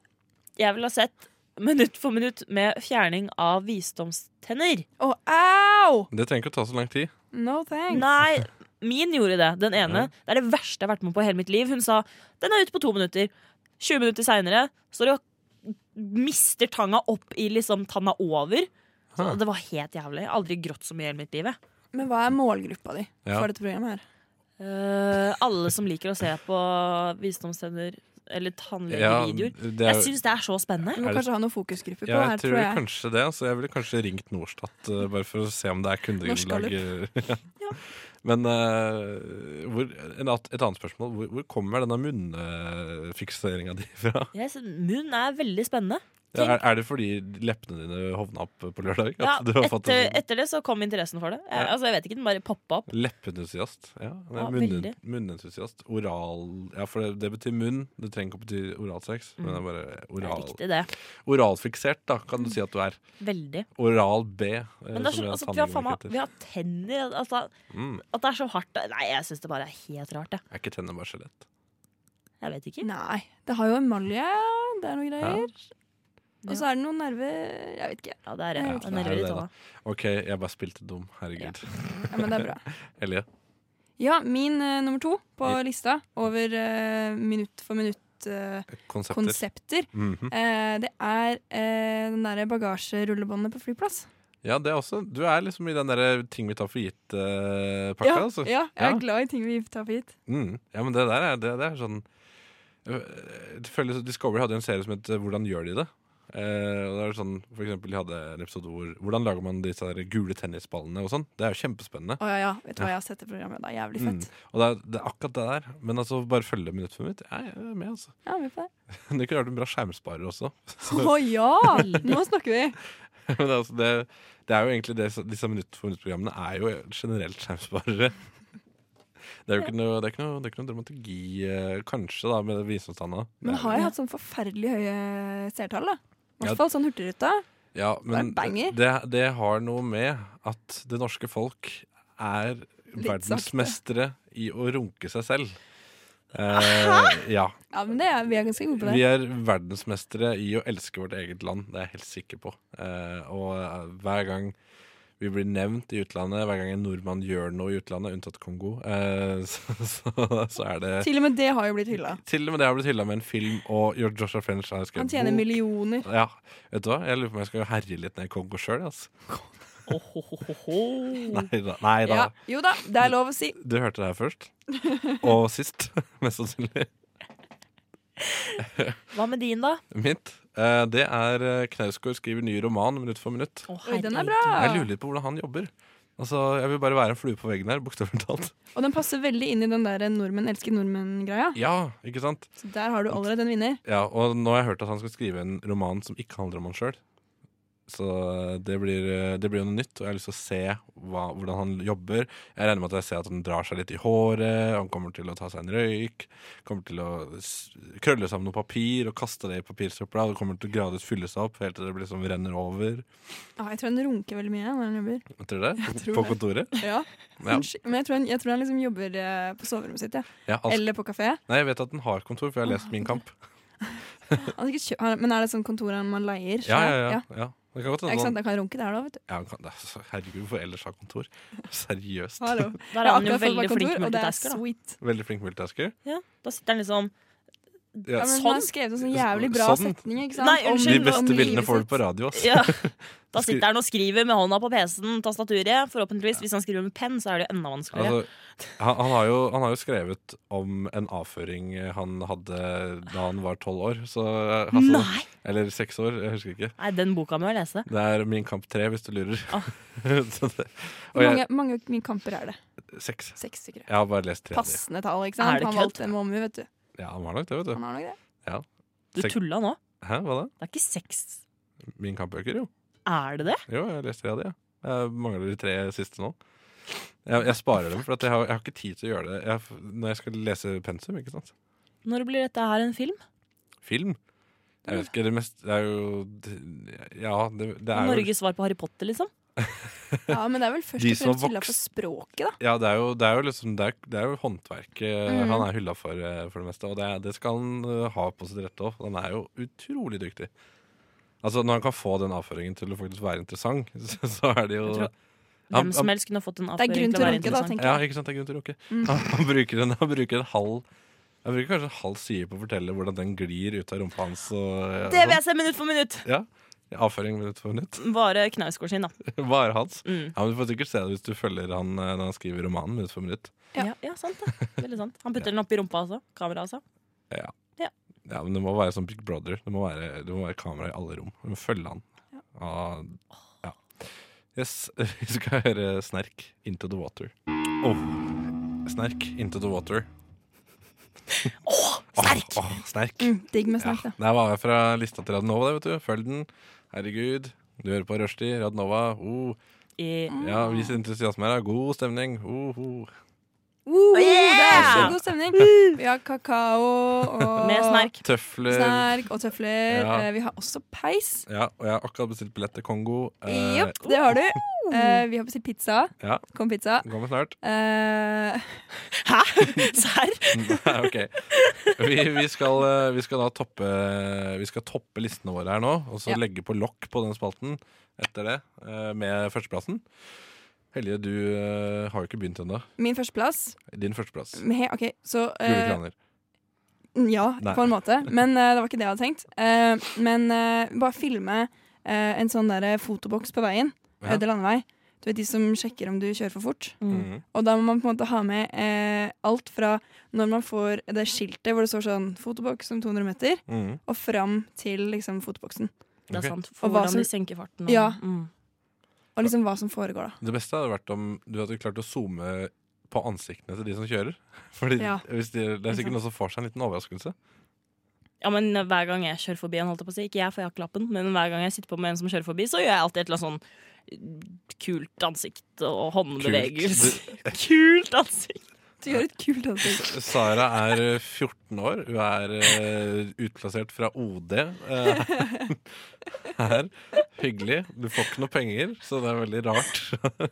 S1: Jeg vil ha sett minutt for minutt med fjerning av visdomstenner.
S4: Å, au!
S3: Det trenger ikke å ta så lang tid.
S4: No thanks.
S1: Nei, min gjorde det. Den ene.
S3: Ja.
S1: Det er det verste jeg har vært med på i hele mitt liv. Hun sa den er ute på to minutter. 20 minutter seinere står det og mister tanga opp i liksom tanna over. Så
S3: Ha.
S1: det var helt jævlig. Jeg har aldri grått så mye i hele mitt liv. jeg.
S4: Men hva er målgruppa di
S3: Ja.
S4: for dette programmet her?
S1: Eh, alle som liker å se på visdomstenner eller tannlegevideoer.
S3: det er-
S1: Jeg syns det er så spennende.
S4: Vi må
S3: Er det-
S4: kanskje ha noen fokusgrupper på
S3: ja, jeg
S4: det her,
S3: tror,
S4: tror jeg.
S3: kanskje det. Så jeg ville kanskje ringt Norstat eh, bare for å se om det er kundegrunnlag. ja. Men eh, hvor, en, at- et annet spørsmål. Hvor, hvor kommer denne munnfikseringa di fra?
S1: Jeg synes, munn er veldig spennende.
S3: Ja, er, er det fordi leppene dine hovna opp på lørdag? At
S1: Ja, eh,
S3: du har fått
S1: etter,
S3: en sånn
S1: etter det så kom interessen for det. Jeg,
S3: Ja.
S1: altså, jeg vet ikke, Den bare poppa opp.
S3: Leppeentusiast. sånn Ja, det er
S1: Ja,
S3: munnen-
S1: veldig.
S3: Munnentusiast. Oral Ja, for det, det betyr munn. Det trenger ikke å bety oralsex, men det er bare
S1: Mm. Det er
S3: oral,
S1: riktig, det.
S3: oralfiksert, da, kan du si at du er.
S1: Veldig.
S3: Oral B. eh,
S1: Men det er
S3: som
S1: så,
S3: jeg
S1: altså, at vi, har, faen
S3: tannlegen
S1: meg-
S3: heter.
S1: vi har tenner altså,
S3: Mm.
S1: At det er så hardt Nei, jeg syns det bare er helt rart. Jeg,
S3: Er ikke tenner bare skjelett?
S1: jeg vet ikke.
S4: Nei. Det har jo emalje, det er noen greier.
S1: Ja.
S4: Og så er det noen nerver Jeg vet ikke.
S1: Ja, det er,
S4: Ja,
S1: ja,
S4: det
S3: er
S1: nerver i
S3: det,
S1: tåa.
S3: Ok, jeg bare spilte dum. Herregud.
S4: Ja, men det er bra.
S3: Elje.
S4: Ja, min eh, nummer to på
S3: Ja.
S4: lista over eh, minutt for minutt-konsepter,
S3: Konsepter. Mhm.
S4: det er eh, den derre bagasjerullebåndet på flyplass.
S3: Ja, det er også. Du er liksom i den der ting vi tar for gitt-pakka.
S4: Ja,
S3: altså.
S4: ja, jeg
S3: Ja.
S4: er glad i ting vi tar for gitt.
S3: Mm. ja, men det der er, det, det er sånn øh, det føles, Discovery hadde jo en serie som het eh, Hvordan gjør de det? Eh, og det er sånn, for eksempel, De hadde en episode hvor Hvordan lager man disse der gule tennisballene og sånn. Det er jo kjempespennende.
S4: Å ja, ja. Vet du hva, jeg har sett det programmet. Det er jævlig
S3: Mm.
S4: fett.
S3: Og det er, det er akkurat det der. Men altså, bare følge minutt for minutt. Jeg er med, altså.
S4: Jeg er med på det.
S3: Det kunne vært en bra skjermsparer også.
S4: Å ja! Nå snakker vi.
S3: Men altså, det, det er jo egentlig det, disse minutt for minutt-programmene er jo generelt skjermsparere. Det er jo ikke noe, det er ikke noe, det er ikke noe dramaturgi, eh, kanskje, da, med visdomstanna. Det
S4: Men
S3: er-
S4: har jeg hatt sånn forferdelig høye seertall, da? I
S3: Ja.
S4: hvert fall sånn Hurtigruta.
S3: ja, men
S4: det er banger.
S3: det, det har noe med at det norske folk er verdensmestere i å runke seg selv. Hæ?! Ja.
S4: Ja, men det er, vi er ganske gode på
S3: Vi
S4: det.
S3: er verdensmestere i å elske vårt eget land, det er jeg helt sikker på. Eh, og eh, hver gang vi blir nevnt i utlandet, hver gang en nordmann gjør noe i utlandet, unntatt Kongo, eh, så, så, så er det
S4: Til og med det har jo blitt hylla.
S3: Til og med det har blitt hylla med en film, og Your Joshua French har skrevet
S4: Han tjener
S3: bok.
S4: millioner.
S3: Ja, vet du hva? Jeg lurer på om jeg skal herje litt ned i Kongo sjøl. Altså. Nei da. Nei, da.
S4: Mm. Ja. Jo da, det er lov å si.
S3: Du hørte det her først. Og sist, mest sannsynlig.
S1: Hva med din, da?
S3: Mitt. eh, det er eh, Knausgård skriver ny roman minutt for minutt.
S1: Å,
S4: Oi, den er
S1: herregud.
S4: bra.
S3: Jeg lurer litt på hvordan han jobber. Altså, Jeg vil bare være en flue på veggen her, bokstavelig talt.
S4: Og den passer veldig inn i den der nordmenn elsker nordmenn-greia.
S3: Ja, ikke sant?
S4: Så der har du allerede en vinner.
S3: Ja, Og nå har jeg hørt at han skal skrive en roman som ikke handler om han sjøl. Så eh, det blir, det blir jo noe nytt, og jeg har lyst til å se hva, hvordan han jobber. Jeg regner med at jeg ser at han drar seg litt i håret, han kommer til å ta seg en røyk, kommer til å s- krølle sammen noe papir og kaste det i papirsøpla, og det kommer til å gradvis fylle seg opp helt til det blir som renner over.
S4: Ja, jeg tror han runker veldig mye når han jobber.
S3: Tror du det?
S4: tror
S3: På
S4: det.
S3: kontoret?
S4: Ja.
S3: Ja.
S4: Men jeg tror, han, jeg tror han liksom jobber eh, på soverommet sitt, ja.
S3: Ja, altså,
S4: Eller på kafé.
S3: nei, jeg vet at den har kontor, for jeg har lest Min kamp.
S4: Han har sikkert kjøpt- han- Men er det sånn kontor han man leier?
S3: Ja, ja, ja. ja. Det kan godt
S4: Ja, Ikke
S3: hende
S4: sant,
S3: han-
S4: Da kan han runke der, da. vet du
S3: ja, han kan- det er så- Herregud, hvorfor ellers ha kontor? Seriøst.
S4: Hallo.
S1: Da er
S4: Jeg har
S1: han jo
S4: akkurat fått
S1: veldig
S4: meg
S1: flink
S4: kontor, og det er
S1: multitasker.
S4: sweet.
S3: Veldig flink multitasker.
S1: Da. Ja, da sitter han liksom
S4: Ja,
S3: Ja.
S4: men
S1: Sånn.
S4: Han skrev en sånn jævlig bra
S3: Sånn.
S4: setning. ikke sant?
S1: Nei,
S4: Om-
S1: unnskyld,
S3: De
S1: nå-
S3: beste
S4: om
S3: bildene
S4: livet
S3: får du
S4: sitt.
S3: på radio, ass.
S1: ja. Da sitter han og skriver med hånda på PC-en, tastaturet. Forhåpentligvis, hvis han skriver med penn, så er det jo enda vanskeligere.
S3: Altså, han, han, har jo, han har jo skrevet om en avføring han hadde da han var tolv år. Så, altså,
S1: Nei!
S3: eller seks år, jeg husker ikke.
S1: Nei, den boka må jeg lese.
S3: Det er Min kamp tre, hvis du lurer.
S1: Ah.
S3: Så det- og
S4: Hvor
S3: jeg,
S4: mange, mange mye kamper er det?
S3: seks.
S4: Seks stykker. ja.
S3: Jeg har bare lest tre av de.
S4: Passende tall, ikke
S1: Er
S4: sant?
S1: det
S4: Han
S1: kødd?
S4: valgte en mommy, vet du.
S3: Ja, han har nok det, vet du.
S4: Han har nok det.
S1: Du
S3: Sek-
S1: tulla nå.
S3: Hæ, hva da?
S1: Det er ikke seks.
S3: Min kampbøker, jo.
S1: Er det det?
S3: Jo, jeg har lest tre av de. ja. Jeg mangler de tre siste nå. Jeg, jeg sparer dem, for at jeg, har, jeg har ikke tid til å gjøre det jeg, når jeg skal lese pensum. ikke sant?
S1: Når blir dette her en film?
S3: Film. Jeg vet ikke, det mest Det er jo det- Ja, det, det er jo
S1: Norges svar på Harry Potter, liksom?
S4: Ja, Men det er vel først
S3: De
S4: og
S3: som
S4: fremst skylda
S3: voks-
S4: på språket, da.
S3: ja, det er jo, det er jo liksom Det er, det er jo håndverket
S4: Mm.
S3: han er hylla for, eh, for det meste. Og det, er- det skal han eh, ha på sitt rette òg. Han er jo utrolig dyktig. Altså Når han kan få den avføringen til å faktisk være interessant, så, så er det jo
S1: Jeg tror-
S3: Han-
S1: Hvem
S3: han-
S1: som helst kunne fått en
S4: Det er
S1: avføring til
S4: grunn til
S1: å
S4: å
S1: være
S4: runke, da,
S1: interessant.
S4: tenker
S3: Ja,
S4: jeg.
S3: ikke sant, det er grunn til å runke.
S4: Mm.
S3: Han, han, bruker en, han bruker en halv Han bruker kanskje en halv side på å fortelle hvordan den glir ut av rumpa hans. Og, ja,
S1: Det vil jeg se minutt for minutt!
S3: sånn. Avføring minutt for minutt.
S1: Bare Knausgård sin, da.
S3: Bare hans.
S1: Mm.
S3: Ja, men Du får sikkert se det hvis du følger han eh, når han skriver romanen minutt for minutt.
S1: Ja. Ja, sant det. Veldig sant. Han putter den opp i rumpa også. Kamera også.
S3: Ja, men Det må være som Big Brother. Det må være, det må være kamera i alle rom. Du må følge han. Ah, ja. Yes, vi skal høre Snerk, 'Into the Water'. Oh. Snerk, 'Into the Water'. Åh,
S1: Snerk!
S3: Åh, snerk.
S4: Mm, digg med snakk,
S3: Ja,
S4: det.
S3: der var jeg fra lista til Radnova, det, vet du. Følg den. Herregud. Du hører på Rushdie, Radnova. Oh.
S1: I
S3: Ja,
S4: Ah.
S3: vis entusiasme her. da. God stemning. Oh, oh.
S4: Woo, Det er så
S1: Oh, Yeah!
S4: god stemning. Vi har kakao og
S1: Med snerk.
S3: Tøfler.
S4: Snerk og tøfler.
S3: Ja.
S4: Eh, Vi har også peis.
S3: Ja, og jeg har akkurat bestilt billett til Kongo. Eh,
S4: Jopp, det har du.
S1: oh.
S4: Eh, Vi har bestilt pizza.
S3: Ja.
S4: Kom pizza.
S3: den Kommer snart.
S4: Eh,
S1: Hæ?! Serr?
S3: Nei, ok. Vi, vi, skal, eh, vi skal da toppe Vi skal toppe listene våre her nå, og så
S4: Ja.
S3: legge på lokk på den spalten etter det, eh, med førsteplassen. Hellige, du eh, har jo ikke begynt ennå.
S4: Min førsteplass
S3: Din førsteplass.
S4: med he- OK, så
S3: Gule
S4: eh,
S3: kraner.
S4: Ja,
S3: Nei.
S4: på en måte. Men eh, det var ikke det jeg hadde tenkt. Eh, men eh, bare filme eh, en sånn der eh, fotoboks på veien.
S3: Ja.
S4: Øde landevei. Du vet de som sjekker om du kjører for fort.
S3: Mhm.
S4: Og da må man på en måte ha med eh, alt fra når man får det skiltet hvor det står sånn 'fotoboks om 200 meter',
S3: Mhm.
S4: og fram til liksom fotoboksen.
S1: Det er
S3: Ok.
S1: sant.
S4: Og
S1: For
S4: hva
S1: hvordan
S4: som-
S1: de senker farten. Og,
S4: Ja.
S1: mm.
S4: Og liksom hva som foregår da.
S3: Det beste hadde vært om du hadde klart å zoome på ansiktene til de som kjører. Fordi
S4: Ja.
S3: hvis de, Det er sikkert noen som får seg en liten overraskelse.
S1: ja, men hver gang jeg kjører forbi en, holdt jeg på å si, ikke jeg, for jeg har ikke lappen, men hver gang jeg sitter på med en som kjører forbi, så gjør jeg alltid et eller annet sånn kult ansikt og håndbevegelse. Kult, ansikt!
S4: Du gjør et kult ansikt.
S3: Du- Sara er eh, 14 år. Hun er eh, utplassert fra OD. eh, her. Hyggelig. Du får ikke noe penger, så det er veldig rart.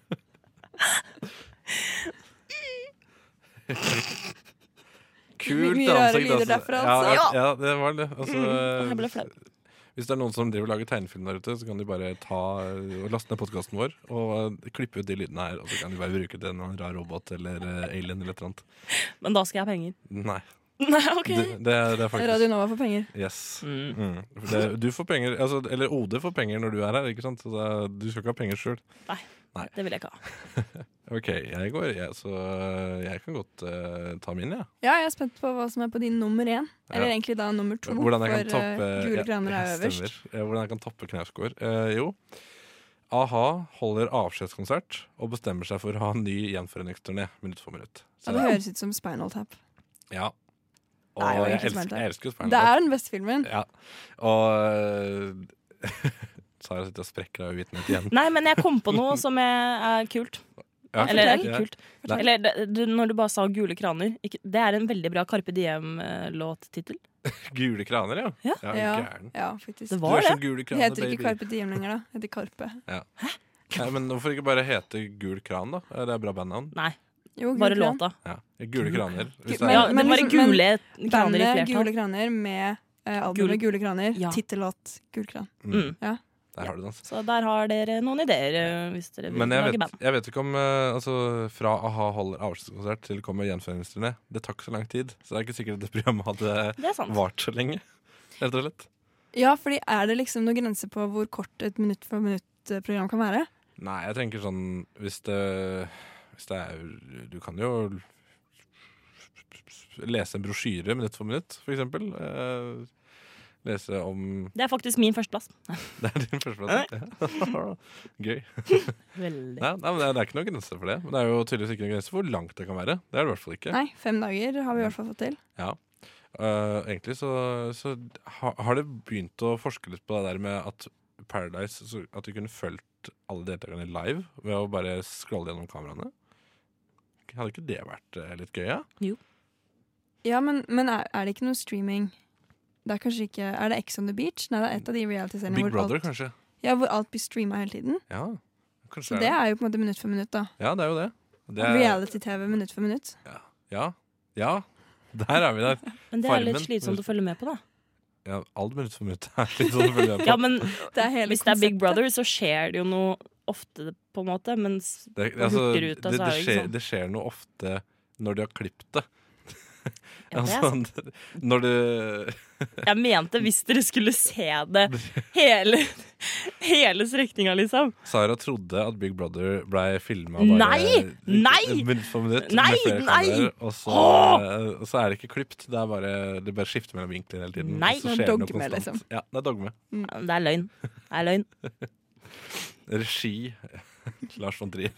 S3: Kult
S4: Mye rare
S3: ansikt,
S4: lyder
S3: altså.
S4: derfra, altså. Mm,
S3: Ja, ja, det var det. Altså,
S1: Jeg ble flau.
S3: hvis det er noen som driver og lager tegnefilm der ute, så kan de bare ta eh, og laste ned podkasten vår og eh, klippe ut de lydene her. Og så kan de bare bruke det til en rar robot eller eh, alien eller et eller annet.
S1: Men da skal jeg ha penger.
S3: Nei.
S1: Nei, OK.
S3: Det, det, er- det er
S4: Radio
S3: faktisk
S4: Nova får penger.
S3: Yes.
S1: Mm.
S3: Mm. Det, du får penger, altså, eller OD får penger når du er her, ikke sant? Så det, er- du skal ikke ha penger sjøl.
S1: Det vil jeg ikke ha.
S3: OK, jeg går, jeg, så eh, jeg kan godt eh, ta min, jeg. Ja.
S4: Ja, jeg er spent på hva som er på din nummer én. Eller
S3: Ja.
S4: egentlig da nummer to,
S3: Hvordan jeg kan
S4: for eh,
S3: toppe
S4: gule kraner
S3: ja,
S4: er
S3: ja,
S4: øverst.
S3: stemmer. Eh, Hvordan jeg kan toppe Knausgård? Eh, jo. A-ha holder avskjedskonsert og bestemmer seg for å ha en ny gjenforeningsturné minutt for minutt.
S4: Ja, det høres ut som Spinal Tap.
S3: ja. Og
S4: Nei, det var
S3: jeg,
S4: ikke
S3: elsker,
S4: smart, da.
S3: jeg elsker jo Spinal
S4: Det
S3: Tap.
S4: er den beste filmen.
S3: Ja. Og eh, Sara sitter og sprekker av uvitenhet igjen.
S1: Nei, men jeg kom på noe som er, er kult.
S3: Ja,
S1: Eller
S3: ja.
S1: ikke kult.
S3: Nei.
S1: Eller det- du, når du bare sa 'Gule kraner'. Ikke, det er en veldig bra Carpe Diem-låttittel.
S3: Gule kraner, ja.
S1: Ja.
S3: ja,
S4: Ja,
S3: Gæren.
S4: ja faktisk.
S1: Det
S3: Du
S1: var
S3: er
S1: det.
S3: som gule
S4: Det
S3: kraner,
S4: heter ikke
S3: baby.
S4: Carpe Diem lenger, da. Det heter Karpe.
S3: Nei, men hvorfor ikke bare hete Gul kran, da? Det er bra bandnavn.
S4: Jo, Gule
S1: Bare
S4: Kran.
S1: låta.
S3: Ja. Gule kraner. Hvis det
S4: Men-
S3: er
S1: Ja, det
S4: men
S1: var
S4: liksom-
S1: gule kraner i
S4: Bandet
S1: flertall.
S4: Gule Kraner med eh,
S1: Gul-
S4: albumet Gule Kraner.
S1: Ja.
S4: Tittellåt Gul Kran.
S3: Mm.
S4: Ja.
S3: Der har du det, altså.
S1: Så der har dere noen ideer eh, hvis dere vil
S3: Men jeg
S1: lage
S3: vet,
S1: band.
S3: jeg vet ikke om eh, altså, Fra a-ha holder avskjedskonsert til kommer gjenforeningsturné. Det tar ikke så lang tid, så det er ikke sikkert at det programmet hadde
S1: Det er sant.
S3: vart så lenge. Rett og slett.
S4: Ja, fordi er det liksom noen grenser på hvor kort et minutt for minutt-program kan være?
S3: Nei, jeg tenker sånn Hvis det, hvis det er Du kan jo lese en brosjyre minutt for minutt, for eksempel. Eh, lese om
S1: Det er faktisk min førsteplass.
S3: Det er din førsteplass. Ja. Gøy.
S1: Veldig.
S3: Nei, nei, men det er- det er ikke noen grenser for det. Men det er jo tydeligvis ikke noen grenser for hvor langt det kan være. Det er det i hvert fall ikke.
S4: Nei, fem dager har vi i hvert fall fått til.
S3: Eh, egentlig så, så ha, har det begynt å forske litt på det der med at Paradise så, At du kunne fulgt alle deltakerne live ved å bare scrolle gjennom kameraene. Hadde ikke det vært eh, litt gøy? Ja?
S4: Ja, men, men er, er det ikke noe streaming? Det er kanskje ikke Er det Ex on the Beach? Nei, det er et av de realityseriene
S3: Big
S4: hvor,
S3: Brother,
S4: alt-
S3: kanskje.
S4: ja, hvor alt blir streama hele tiden.
S3: Ja, kanskje
S4: Så det er jo på en måte minutt for minutt, da.
S3: Ja, det er jo det. det er,
S4: Reality-TV minutt for minutt.
S3: ja, ja, der er vi der.
S1: Men det er litt
S3: Farmen.
S1: slitsomt å følge med på, da.
S3: Ja, alt minutt for minutt er litt sånn å følge med på.
S1: Ja, men
S4: Det er hele
S1: hvis det er Big
S4: konseptet.
S1: Brother, så skjer det jo noe ofte, på en måte. Mens
S3: Det, altså,
S1: Og Hurtigruta, så
S3: det, det,
S1: er det ikke
S3: skjer,
S1: sånn.
S3: det skjer noe ofte når du har klippet det.
S1: ja, det er sant.
S3: altså, når du
S1: Jeg mente hvis dere skulle se det hele, hele strekninga, liksom.
S3: Sara trodde at Big Brother ble filma
S1: Nei! Nei!
S3: minutt for minutt.
S1: Nei,
S3: med flere
S1: nei!
S3: kameraer, Og så,
S1: Åh!
S3: og så er det ikke klipt. Det, er bare, det bare skifter mellom vinkler hele tiden.
S1: Nei,
S3: og så
S4: det er
S3: skjer det noe
S4: dogme,
S3: konstant.
S4: liksom.
S3: Ja, det er dogme.
S1: Det er løgn. Det er løgn.
S3: Regi Lars von Trier.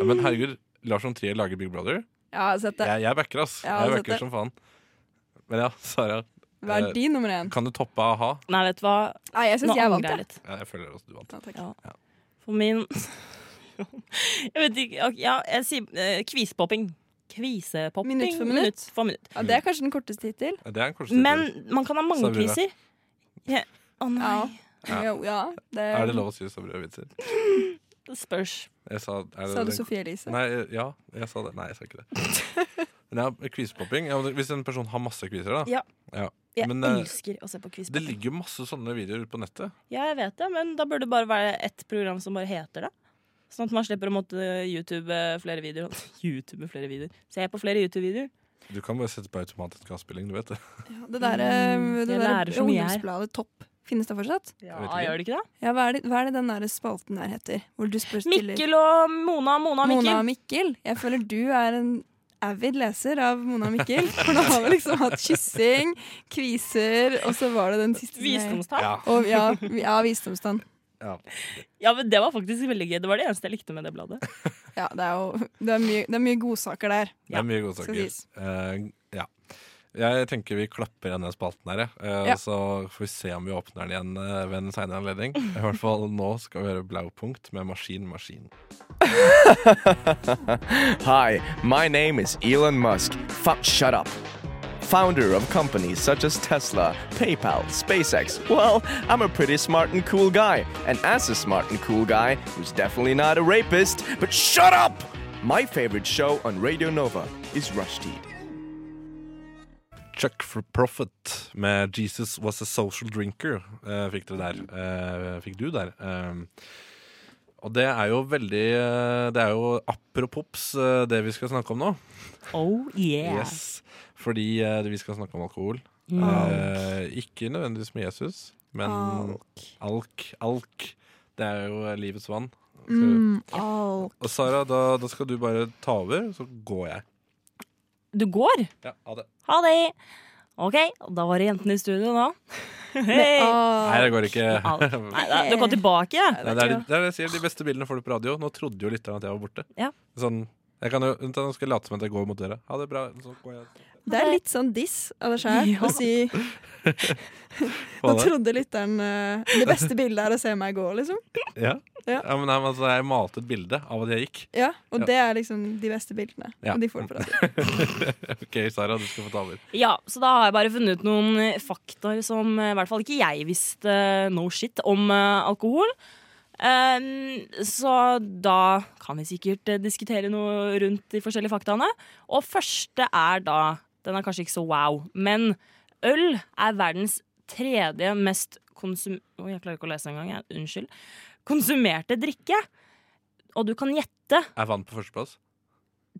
S3: Ja, men herregud, Lars von Trier lager Big Brother.
S4: Ja, altså så dette,
S3: Jeg, jeg backer, ass.
S4: Ja,
S3: jeg
S4: altså,
S3: backer
S4: det-
S3: som faen. Men ja, Sara.
S4: Hva
S3: Eh,
S4: er din nummer én?
S3: Kan du toppe a-ha?
S1: Nei, vet du hva?
S4: Nei, jeg
S1: Nå
S4: syns jeg vant,
S1: angrer jeg
S4: jeg.
S1: litt.
S3: Ja, jeg føler også du vant.
S4: Ja, takk.
S1: Ja. For min Jeg vet ikke ok, Ja, jeg sier eh, kvisepopping. Kvisepopping.
S4: Minutt for minutt.
S1: for minutt.
S4: Ja, det er kanskje den korteste hittil.
S3: Ja, Det er en kort
S1: Men man kan ha mange
S3: Sabrina.
S1: priser. Ja. Å nei.
S4: Ja.
S3: Ja.
S4: Jo, ja det,
S3: Er
S1: um,
S3: det lov å si så brød vitser?
S1: Det spørs.
S3: Jeg sa, er det
S4: Sa du
S3: den-
S4: Sofie Elise?
S3: Nei, eh, ja, jeg sa det. Nei, jeg sa ikke det. Men ja, Kvisepopping. Ja, hvis en person har masse kviser, da.
S1: Ja. Jeg
S3: Men, eh,
S1: elsker å se på
S3: Det
S1: kvisepopping.
S3: ligger jo masse sånne videoer ute på nettet.
S1: Ja, jeg vet det, men da burde det bare være ett program som bare heter det. Sånn at man slipper å måtte YouTube eh, flere videoer. YouTube flere videoer. Se på flere YouTube-videoer.
S3: Du kan bare sette på automatisk avspilling, du vet det.
S4: Ja, det der, eh, det
S1: Mm, Jeg
S4: der
S1: lærer så mye her.
S4: ungdomsbladet Topp, finnes det fortsatt?
S1: Ja,
S3: vet ikke.
S1: gjør det ikke det?
S4: Ja, hva er det, hva er det den der spalten der heter? Hvor du spør stiller
S1: Mikkel og Mona, Mona og Mikkel.
S4: Mona og Mikkel. Jeg føler du er en avid leser av Mona og Mikkel. For nå har vi liksom hatt kyssing, kviser, og så var det den siste som jeg-
S1: Visdomstap.
S3: Ja.
S4: Og, ja, vi- ja, visdomstann.
S3: Ja.
S1: Ja, men det var faktisk veldig gøy. Det var det eneste jeg likte med det bladet.
S4: Ja, det er jo det er mye, det er mye godsaker der.
S3: Det er mye gode
S4: Skal
S3: saker.
S4: sies.
S3: Eh, ja. Jeg tenker vi klapper igjen den spalten her, jeg. Eh,
S4: Ja.
S3: og så får vi se om vi åpner den igjen eh, ved en senere anledning. I hvert fall nå skal vi høre Blaupunkt med Maskin Maskin.
S9: Hi, my name is Elon Musk. Fuck, shut up. Founder of companies such as Tesla, PayPal, SpaceX. Well, I'm a pretty smart and cool guy. And as a smart and cool guy, who's definitely not a rapist, but shut up! My favorite show on Radio Nova is Rushdie.
S3: Chuck for Profit med 'Jesus Was A Social Drinker' eh, fikk dere der. eh, fikk du der. Eh, og det er jo veldig eh, Det er jo apropos eh, det vi skal snakke om nå.
S1: Oh yeah. Mm.
S3: Yes. Fordi eh, vi skal snakke om alkohol. Eh, ikke nødvendigvis med Jesus, men alk. alk. Det er jo eh, livets vann. Så-
S4: Mm, alk.
S3: Og Sara, da, da skal du bare ta over, så går jeg.
S1: Du går?
S3: Ja, ha det.
S1: Ha det! OK, og da var det jentene i studio nå. Hei.
S3: Nei,
S4: Alk.
S3: det går ikke.
S1: Alt. Nei, da, du kom tilbake, ja.
S3: Nei, det, er, det er det jeg sier. De beste bildene får du på radio. Nå trodde jo lytterne at jeg var borte.
S1: Ja.
S3: Sånn, jeg kan jo, vent da, Nå skal jeg late som at jeg går mot døra. Ha det bra. Så går jeg.
S4: Det er litt sånn diss av deg sjæl
S1: Ja.
S4: å si
S3: Ha
S4: Nå
S3: det.
S4: trodde lytteren eh, Det beste bildet er å se meg gå, liksom.
S3: Ja.
S4: Ja.
S3: Ja, men, nei, men altså, jeg malte et bilde av at jeg gikk.
S4: Ja, Og
S3: Ja.
S4: det er liksom de beste bildene.
S3: Ja.
S4: Og de får du på radio.
S3: OK, Sara, du skal få ta over.
S1: ja. Så da har jeg bare funnet ut noen eh, faktaer som eh, i hvert fall ikke jeg visste eh, no shit om eh, alkohol. Ehm, så da kan vi sikkert eh, diskutere noe rundt de forskjellige faktaene. Og første er da Den er kanskje ikke så wow, men øl er verdens tredje mest konsum... Oi, jeg klarer ikke å lese engang. jeg. Unnskyld. Konsumerte drikke. Og du kan gjette
S3: Jeg vant på førsteplass.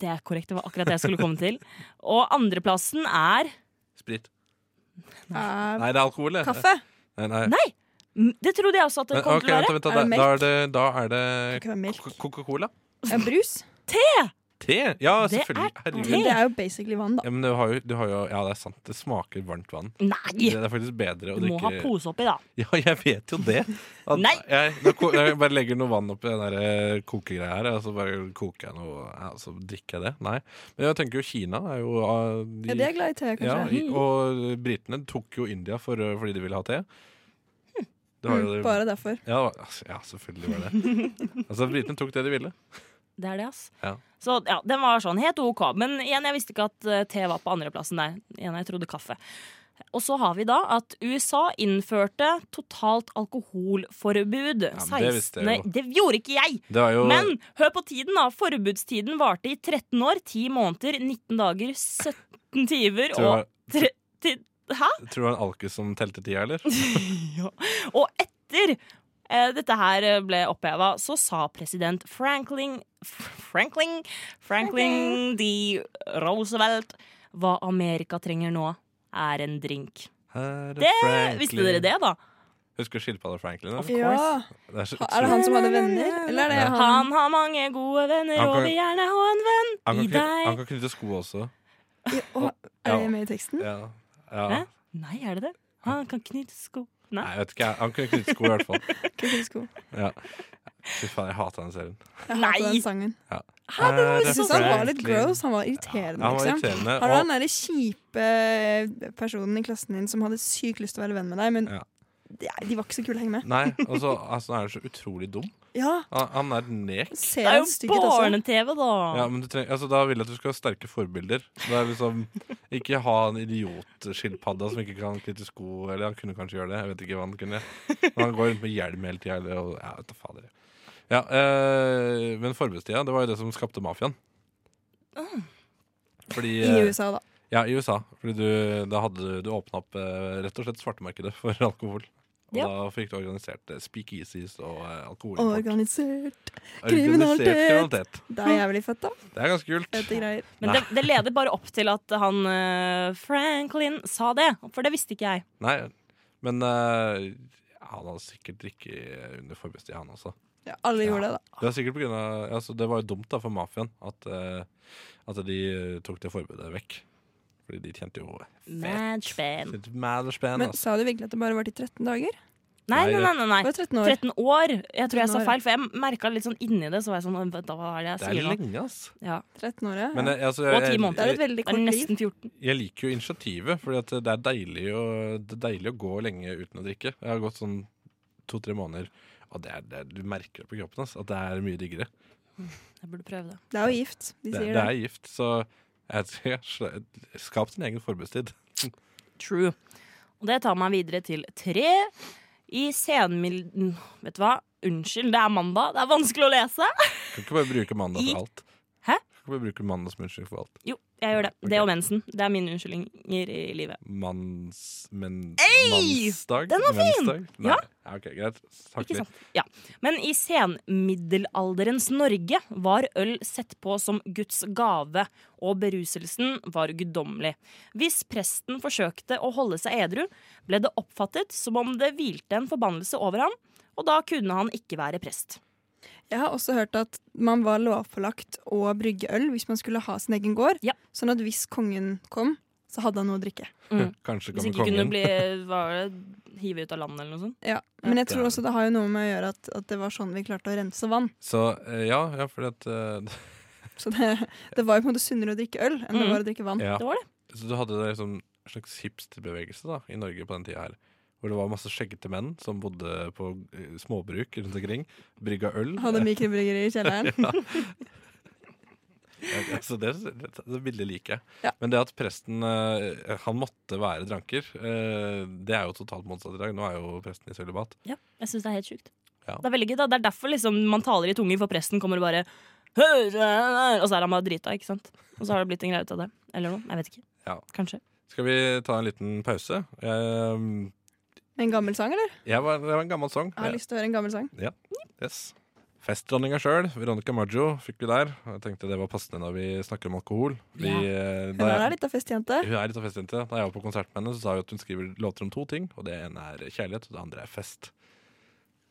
S1: Det er korrekt. Det var akkurat det jeg skulle komme til. Og andreplassen er
S3: Sprit.
S4: Eh,
S3: Nei, det er alkohol, det.
S4: kaffe.
S3: Nei, nei.
S1: Nei, Mm, Det trodde jeg også at det
S3: Men,
S1: kom
S3: ok,
S1: til å
S3: vent, vent,
S1: være.
S3: da,
S4: Er det
S3: da, er det, da er
S4: Kan
S3: det
S4: ikke være melk.
S3: Coca- Coca-Cola.
S4: Ja, brus.
S3: Te? Ja,
S1: Det er
S3: selvfølgelig.
S4: Men
S3: Herregud.
S4: det er jo basically vann, da.
S3: Ja, men du har jo, du har jo, ja, det er sant. Det smaker varmt vann.
S1: Nei!
S3: Det er faktisk bedre å
S1: Du må ha
S3: drikke
S1: pose oppi, da.
S3: Ja, jeg vet jo det. At
S1: Nei.
S3: Jeg, nå ko- jeg bare legger noe vann oppi den der eh, kokegreia her, og så bare koker jeg noe, ja, og så drikker jeg det. Nei. Men jeg tenker jo Kina er jo ah, de-
S4: Ja, de er glad i te,
S3: ja,
S4: kanskje. Mm,
S3: i- Og britene tok jo India for, eh, fordi de ville ha te. Det har jo
S4: Mm, bare derfor.
S3: Ja, altså, ja, selvfølgelig var det Altså, Britene tok det de ville.
S1: Det er det, ass.
S3: Ja.
S1: Så ja, den var sånn helt OK. Men igjen, jeg visste ikke at eh, te var på andreplassen der. Igjen, jeg trodde kaffe. Og så har vi da at USA innførte totalt alkoholforbud.
S3: Ja, men det visste
S1: 16.
S3: jeg jo.
S1: Det gjorde ikke jeg!
S3: Det var jo
S1: Men hør på tiden, da. Forbudstiden varte i 13 år, 10 måneder, 19 dager, 17 timer
S3: tror,
S1: og
S3: jeg,
S1: tre, ti, Hæ?
S3: tror du det var en alkis som telte tida, eller?
S1: Ja. Og etter eh, dette her eh, ble oppheva, så sa president Franklin Franklin, Franklin D. Roosevelt hva Amerika trenger nå, er en drink. Eh,
S3: Det
S1: Visste dere det, da?
S3: Husker du skilpadda Franklin?
S1: Of
S3: eller?
S4: Ja.
S1: course.
S3: Det er, så,
S4: Er det han som hadde venner? Eller er det
S3: Ja.
S4: han
S1: Han har mange gode venner
S3: Han
S1: og
S3: kan-
S1: vil gjerne ha en venn.
S3: han, kan
S1: i
S3: knytte,
S1: deg.
S3: han kan knytte sko også.
S4: Å, Er det med i teksten?
S3: Ja. Ja.
S1: Hæ? Nei, er det det? Han kan knytte sko.
S3: Nei, jeg vet ikke. jeg- Han kunne knytte sko, i hvert fall.
S4: Kukkens sko.
S3: Ja. Fy faen, jeg hater den serien.
S4: Jeg
S1: Nei!
S4: hater den sangen.
S3: Er
S4: Jeg
S3: det
S4: syns han var litt
S3: Franklin?
S4: gross. Han var
S3: Ja,
S4: irriterende,
S3: Han var
S4: liksom.
S3: irriterende.
S4: Har du
S3: Og
S4: den derre kjipe eh, personen i klassen din som hadde sykt lyst til å være venn med deg, men
S3: Ja.
S4: de, de var ikke så kule å henge med?
S3: Nei, og så altså, han er han så utrolig dum.
S4: Ja,
S3: Han, han er en nek.
S1: Det
S4: ser
S1: er jo
S4: han stygg ut også?
S1: barne-TV, da.
S3: Ja, men du treng, altså, da vil jeg at du skal ha sterke forbilder. Det er liksom, ikke ha en idiotskilpadda som ikke kan knytte sko. Eller han kunne kanskje gjøre det. Jeg vet ikke hva han kunne. Men han går rundt med hjelm hele tida. Ja, vet da fader. Ja, eh, men forbudstida, det var jo det som skapte mafiaen. Fordi,
S4: I
S3: eh,
S4: USA, da.
S3: ja, i USA. Fordi du, da hadde du, du åpna opp eh, rett og slett svartemarkedet for alkohol. Og
S1: Ja.
S3: da frykter organiserte speakeasies og eh, alkoholimport.
S4: Organisert.
S3: Organisert kriminalitet.
S4: Det er jævlig fett, da.
S3: Det er ganske kult.
S4: Fette greier.
S1: Men det, det leder bare opp til at han eh, Franklin sa det, for det visste ikke jeg.
S3: Nei, men eh, han har sikkert drikket under forbudstid, han også.
S4: Ja, alle gjorde det, da.
S3: Det, er sikkert på grunn av, altså, det var jo dumt da for mafiaen at, eh, at de eh, tok det forbudet vekk. Fordi de tjente jo
S1: Mad span.
S3: Tjente mad spenn,
S4: Men
S3: altså.
S4: sa du virkelig at det bare var til 13 dager?
S1: Nei, nei, nei. nei,
S4: Det
S1: nei.
S4: var 13 år.
S1: 13 år. Jeg tror jeg sa
S4: 13 år.
S1: feil, for jeg merka litt sånn inni det. Så var jeg sånn, vent da, hva er det
S3: Det
S1: jeg
S3: er
S1: sier nå?
S3: lenge, ass.
S4: 13 år, ja.
S3: Men, eh, altså,
S1: Og
S3: jeg-
S1: ti måneder.
S4: det er
S3: Jeg,
S4: et veldig
S1: Det er
S4: kort liv.
S1: nesten 14.
S3: jeg liker jo initiativet, Fordi at det er deilig å, det er deilig å gå lenge uten å drikke. Jeg har gått sånn to-tre måneder, og det er, det er, du merker det på kroppen ass, at det er mye diggere.
S1: Jeg burde prøve det.
S4: Det er jo gift, de
S3: Det,
S4: sier
S3: det
S4: det.
S3: er gift, så jeg, jeg, skap din egen forbudstid.
S1: True. Og det tar meg videre til tre i senmil... Vet du hva? Unnskyld, det er mandag. Det er vanskelig å lese.
S3: Kan ikke bare bruke mandag
S1: I-
S3: for alt.
S1: Hæ?
S3: Kan ikke bare bruke mandag som unnskyldning for alt.
S1: Jo, jeg gjør det.
S3: Ok.
S1: Det og mensen. Det er mine unnskyldninger i livet.
S3: Manns... Men,
S1: Ei!
S3: Mannsdag?
S1: Den var fin!
S3: Mensdag? Nei.
S1: Ja.
S3: ja. Ok, greit. Takk
S1: Ikke sant? Ja. Men i senmiddelalderens Norge var øl sett på som Guds gave, og beruselsen var guddommelig. Hvis presten forsøkte å holde seg edru, ble det oppfattet som om det hvilte en forbannelse over ham, og da kunne han ikke være prest.
S4: Jeg har også hørt at man var lovpålagt å brygge øl hvis man skulle ha sin egen gård.
S1: Ja.
S4: Sånn at hvis kongen kom, så hadde han noe å drikke.
S3: Kanskje
S1: Hvis
S3: kommer
S1: ikke kunne
S3: kongen.
S1: bli var det hivet ut av landet eller noe sånt.
S4: Ja. Men jeg tror også det har jo noe med å gjøre at, at det var sånn vi klarte å rense vann.
S3: Så eh, ja, ja, fordi at eh,
S4: Så det, det var jo på en måte sunnere å drikke øl enn det
S1: Mm.
S4: var å drikke vann.
S3: ja.
S1: Det var det.
S3: Så du hadde det liksom, en slags hipsterbevegelse da, i Norge på den tida her. Hvor det var masse skjeggete menn som bodde på eh, småbruk rundt omkring. Brygga øl.
S4: Hadde mikrobryggeri i kjelleren.
S3: Ja, Altså, det, det, det bildet liker jeg.
S4: Ja.
S3: Men det at presten eh, han måtte være dranker, eh, det er jo totalt motsatt i dag. Nå er jo presten i sølibat.
S1: Jeg syns det er helt sjukt.
S3: Ja.
S1: Det er veldig gøy. da. Det er derfor liksom man taler i tunger, for presten kommer og bare «Hør, øh, øh», Og så er han bare drita, ikke sant? Og så har det blitt en greie ut av det. Eller noe. Jeg vet ikke.
S3: Ja.
S1: Kanskje.
S3: Skal vi ta en liten pause? Jeg,
S4: En gammel sang, eller?
S3: jeg var, det var en gammel sang.
S4: Jeg har lyst til å høre en gammel sang.
S3: Yes. Festdronninga sjøl, Veronica Maggio, fikk vi der. Og Jeg tenkte det var passende når vi snakker om alkohol. Vi, eh,
S4: Hun
S3: da
S4: er
S3: jeg,
S4: litt av festjente.
S3: hun er litt av festjente. Da jeg var på konsert med henne, så sa hun at hun skriver låter om to ting. Og Det ene er kjærlighet, og det andre er fest.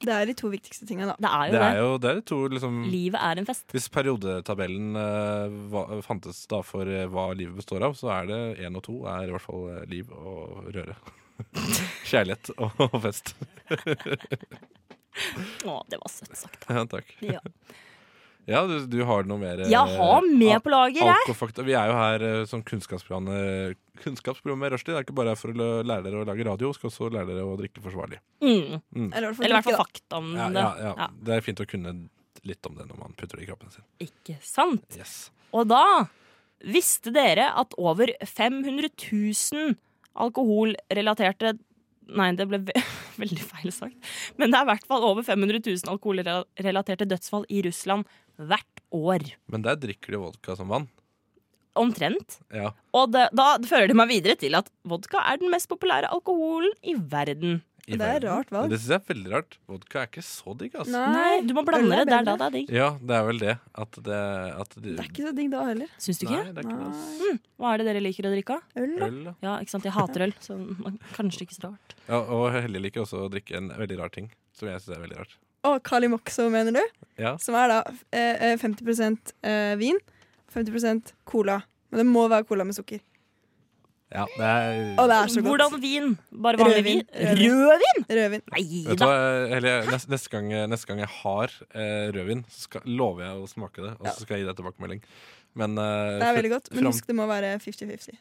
S4: Det er de to viktigste tinga, da.
S1: Det er jo
S3: Det
S1: det.
S3: er jo det er de to liksom
S1: Livet er en fest.
S3: Hvis periodetabellen eh, hva, fantes da for eh, hva livet består av, så er det én og to er i hvert fall eh, liv og røre. Kjærlighet og fest.
S1: Å, det var søtt sagt.
S3: Ja, Takk.
S1: Ja.
S3: Ja, du, du har noe mer eh,
S1: Jeg har med
S3: al-
S1: på lager, jeg.
S3: alkofakta. Vi er jo her eh, som kunnskapsprogrammet Kunnskapsprogrammet Rushdie. Det er ikke bare her for å lø- lære dere å lage radio, skal også lære dere å drikke forsvarlig.
S1: Mm. Eller i
S4: Eller i
S1: hvert fall
S4: drikke, da.
S1: fakta om
S3: Ja,
S1: Mm, det.
S3: ja, ja.
S1: Ja.
S3: Det er fint å kunne litt om det når man putter det i kroppen sin.
S1: Ikke sant?
S3: Yes.
S1: Og da visste dere at over 500 000 alkoholrelaterte Nei, det ble ve veldig feil sagt. Men det er i hvert fall over 500 000 alkoholrelaterte dødsfall i Russland hvert år.
S3: Men der drikker de vodka som vann.
S1: Omtrent.
S3: Ja.
S1: Og det, da fører det meg videre til at vodka er den mest populære alkoholen i verden.
S3: i
S4: Det er
S3: verden.
S4: rart valg.
S3: Det syns jeg er veldig rart. Vodka er ikke så digg, altså.
S1: Nei, du må blande
S4: øl
S1: det.
S4: er
S1: Det er da
S4: bedre.
S1: det er digg.
S3: Ja, det er vel det. At det at de,
S4: Det er ikke så digg da heller.
S1: Syns du ikke?
S3: Nei, det er ikke det. ass.
S1: Hva er det dere liker å drikke av?
S4: Øl, da.
S3: Øl, da.
S1: Ja, ikke sant. Jeg hater øl, så kanskje ikke så rart.
S3: Ja, og Helle liker også å drikke en veldig rar ting. Som jeg syns er veldig rart.
S4: Og Kalimoxo, mener du?
S3: Ja.
S4: Som er da eh, eh, 50 eh, vin, 50 cola. Men det må være cola med sukker.
S3: ja det er,
S4: Å, det er så godt.
S1: Hvordan vin? Bare vanlig
S4: Rødvin.
S1: vin? Rødvin?
S4: Rødvin.
S1: Nei
S3: Vet du
S1: da.
S3: hva, Helle, neste, neste, gang, neste gang jeg har eh, rødvin, så skal, lover jeg å smake det. Og så skal jeg gi deg tilbakemelding. Men eh,
S4: Det er veldig godt. Men
S3: fram-
S4: husk det må være 50-50.